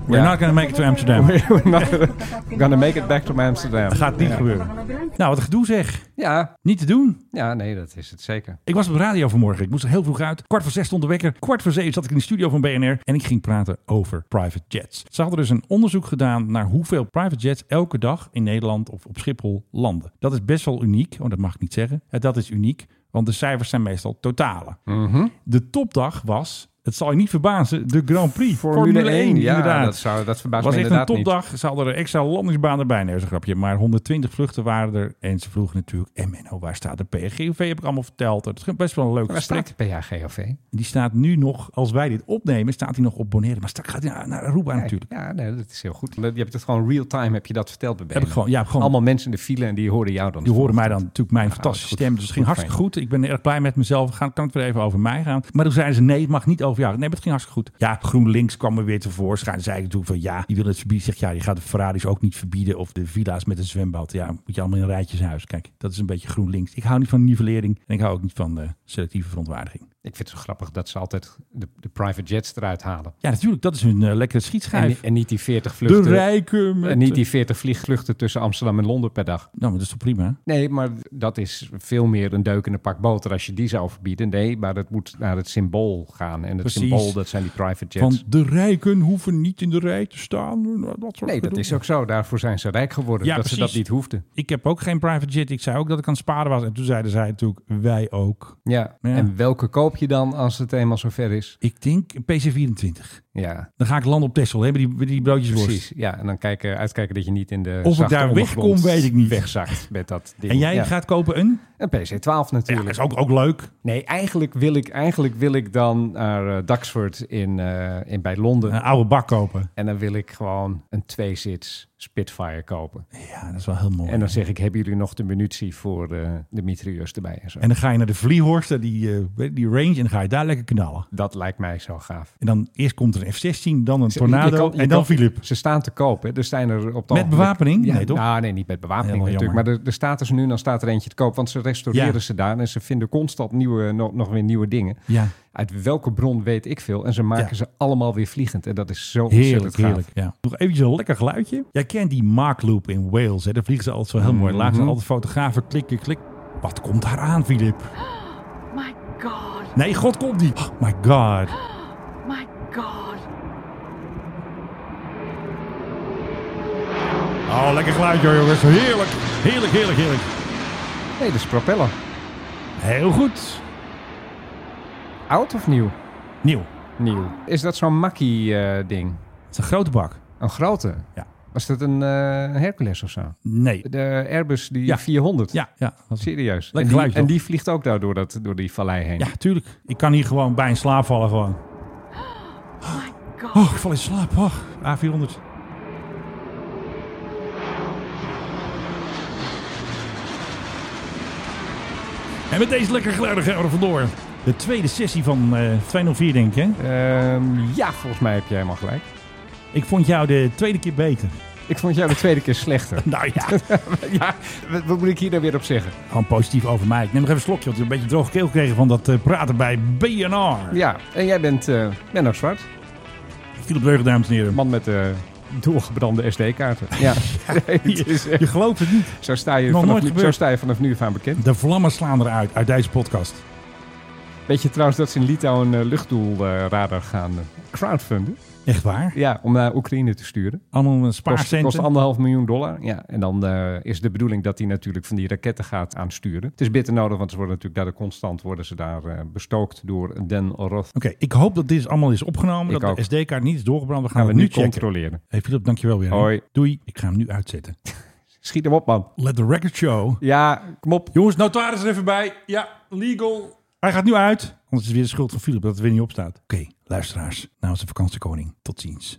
S2: We're
S3: Ja.
S2: not gonna make it to Amsterdam.
S3: We're gonna make it back to Amsterdam.
S2: Dat gaat niet gebeuren. Nou, wat gedoe zeg.
S3: Ja,
S2: Niet te doen.
S3: ja, nee, dat is het zeker.
S2: Ik was op de radio vanmorgen. Ik moest er heel vroeg uit. Kwart voor zes stond de wekker. Kwart voor zeven zat ik in de studio van BNR. En ik ging praten over private jets. Ze hadden dus een onderzoek gedaan naar hoeveel private jets elke dag in Nederland of op Schiphol landen. Dat is best wel uniek. Oh, dat mag ik niet zeggen. Eh, Dat is uniek, want de cijfers zijn meestal totalen.
S3: Mhm.
S2: De topdag was, het zal je niet verbazen, de Grand Prix.
S3: ja,
S2: inderdaad.
S3: dat, zou, dat verbaast
S2: was
S3: me
S2: echt een
S3: inderdaad niet.
S2: topdag. Ze hadden er extra landingsbaan erbij. Nee, dat is een grapje. Maar 120 vluchten waren er. En ze vroegen natuurlijk... En Menno, waar staat de PRGOV? Heb ik allemaal verteld. Het is best wel een leuk
S3: Waar
S2: gesprek.
S3: staat PHGOV?
S2: Die staat nu nog, als wij dit opnemen, staat hij nog op Bonaire. Maar straks gaat hij naar, naar Aruba natuurlijk.
S3: Ja, nee, dat is heel goed. Je hebt het gewoon real-time, heb je dat verteld bij
S2: Heb ik
S3: BNR.
S2: gewoon, ja, gewoon,
S3: Allemaal mensen in de file en die hoorden jou dan.
S2: die horen mij dan natuurlijk mijn fantastische
S3: goed.
S2: stem. Dus het ging
S3: Goed,
S2: hartstikke goed. Ik ben erg blij met mezelf. Gaan, kan het weer even over mij gaan? Maar toen zeiden ze, nee, het mag niet over jou. Nee, maar het ging hartstikke goed. Ja, GroenLinks kwam er weer tevoorschijn. Zei ik natuurlijk van, ja, die willen het verbieden. Zegt, ja, je gaat de Ferraris ook niet verbieden. Of de villa's met een zwembad. Ja, moet je allemaal in rijtjeshuis. Kijk, dat is een beetje GroenLinks. Ik hou niet van nivellering. En ik hou ook niet van eh, selectieve verontwaardiging.
S3: Ik vind het zo grappig dat ze altijd de, de private jets eruit halen.
S2: Ja, natuurlijk. Dat is hun eh, lekkere
S3: En,
S2: schietschijf.
S3: en niet die 40
S2: de
S3: vluchten.
S2: rijken. met-
S3: en niet die 40 vliegvluchten tussen Amsterdam en Londen per dag.
S2: Nou, maar dat is toch prima?
S3: Nee, maar dat is veel meer een deuk in een pak boter als je die zou verbieden. Nee, maar dat moet naar het symbool gaan. En het
S2: Precies.
S3: symbool, dat zijn die private jets.
S2: Van de rijken hoeven niet in de rij te staan. Nou, Dat soort
S3: nee, dat
S2: gedoe.
S3: is ook zo. Daarvoor zijn ze rijk geworden,
S2: Ja,
S3: dat ze
S2: precies.
S3: dat niet hoefden.
S2: Ik heb ook geen private jet. Ik zei ook dat ik aan het sparen was. En toen zeiden zij natuurlijk, wij ook.
S3: Ja.
S2: Ja.
S3: en welke koop je dan als het eenmaal zover is?
S2: Ik denk een PC24.
S3: Ja,
S2: Dan ga ik landen op Texel, hè, met die, met die broodjesworst.
S3: precies. Ja, en dan kijken, uitkijken dat je niet in de
S2: Of ik
S3: zachte
S2: daar wegkom,
S3: ondergrond
S2: weet ik niet.
S3: wegzakt met dat ding.
S2: En jij
S3: Ja.
S2: gaat kopen een?
S3: Een PC-12
S2: Ja, dat
S3: natuurlijk.
S2: is ook, ook leuk.
S3: Nee, eigenlijk wil, ik, eigenlijk wil ik dan naar eh, Duxford in, eh, in, bij Londen.
S2: Een oude bak kopen.
S3: En dan wil ik gewoon een tweezits Spitfire kopen.
S2: Ja, dat is wel heel mooi.
S3: En dan zeg ik, hebben jullie nog de munitie voor eh, de mitrailleurs erbij en zo.
S2: En dan ga je naar de Vliehorst, naar die, eh, weet je, die range, en dan ga je daar lekker knallen.
S3: dat lijkt mij zo gaaf.
S2: En dan eerst komt er een F-16, dan een
S3: Je
S2: Tornado
S3: kan- je
S2: en dan
S3: kan-
S2: Philip.
S3: Ze staan te koop. Hè. Er zijn er op het
S2: Met
S3: ogenblik-
S2: bewapening? Nee, toch?
S3: nou, nee, niet met bewapening
S2: Helemaal
S3: natuurlijk. Maar er, er staat er ze nu, dan staat er eentje te koop. Want ze restaureren
S2: Ja.
S3: ze daar en ze vinden constant nieuwe, nog, nog weer nieuwe dingen.
S2: Ja,
S3: Uit welke bron weet ik veel. En ze maken
S2: Ja.
S3: ze allemaal weer vliegend. En dat is zo ontzettend
S2: heerlijk,
S3: gaaf.
S2: heerlijk. Ja. Nog eventjes een lekker geluidje. Jij kent die Mark Loop in Wales, hè? daar vliegen ze altijd zo heel mooi. Laag
S3: Mhm.
S2: zijn altijd fotografen, klik, klik, klik. Wat komt daar aan, Philip?
S6: My god,
S2: Nee, god komt niet. Oh my god.
S6: my god.
S2: Oh, lekker geluidje hoor, jongens. Heerlijk, heerlijk, heerlijk, heerlijk.
S3: Nee, dat is propeller.
S2: Heel goed.
S3: Oud of nieuw?
S2: Nieuw.
S3: Nieuw. Is dat zo'n makkie eh, ding?
S2: Het is een grote bak.
S3: Een grote?
S2: Ja.
S3: Was dat een eh, Hercules of zo?
S2: Nee.
S3: De Airbus die
S2: Ja.
S3: 400?
S2: Ja, ja. dat is-
S3: Serieus?
S2: Lekker
S3: en, die,
S2: geluid, toch?
S3: en die vliegt ook daar door, dat, door die vallei heen?
S2: Ja, tuurlijk. Ik kan hier gewoon bij in slaap vallen gewoon. Oh, ik val in slaap. Oh, A400. En met deze lekker geluiden gaan we er vandoor. De tweede sessie van eh 204 denk ik. Hè?
S3: Ehm, ja, volgens mij heb jij helemaal gelijk.
S2: Ik vond jou de tweede keer beter.
S3: Ik vond jou de tweede keer slechter.
S2: Nou ja,
S3: ja, wat, wat moet ik hier nou weer op zeggen?
S2: gewoon positief over mij. Ik neem nog even een slokje, want ik heb een beetje droge keel kregen van dat eh, praten bij BNR.
S3: Ja, en jij bent eh Menno Zwart.
S2: Philip Leugen, dames en heren.
S3: Man met de doorgebrande SD-kaarten. Ja, Nee, het is, eh,
S2: Je gelooft het niet.
S3: zo, sta je
S2: Nog
S3: vanaf
S2: nooit
S3: nu, zo
S2: gebeurd.
S3: sta je vanaf nu van bekend.
S2: De vlammen slaan eruit uit deze podcast.
S3: Weet je trouwens dat ze in Litouwen een luchtdoelradar gaan eh, crowdfunden?
S2: Echt waar?
S3: Ja, om naar Oekraïne te sturen.
S2: Allemaal een
S3: Kost,
S2: spaarcenten.
S3: kost anderhalf miljoen dollar. Ja, en dan eh, is de bedoeling dat hij natuurlijk van die raketten gaat aansturen. Het is bitter nodig, want ze worden natuurlijk daar constant worden ze daar eh, bestookt door Den Roth.
S2: Oké, ik hoop dat dit allemaal is opgenomen.
S3: Ik
S2: dat
S3: ook.
S2: de SD-kaart niet is doorgebrand. We gaan,
S3: Gaan
S2: het
S3: we nu
S2: nu checken.
S3: controleren.
S2: Hey Philip, dankjewel weer. hè.
S3: Hoi.
S2: Doei. Ik ga hem nu uitzetten.
S3: Schiet hem op, man.
S2: Let the record show.
S3: Ja, kom op.
S2: Jongens, notaris er even bij. Ja, legal. Hij gaat nu uit. Anders is het weer de schuld van Philip dat het weer niet opstaat. Oké, luisteraars. Namens de Nou vakantiekoning. Tot ziens.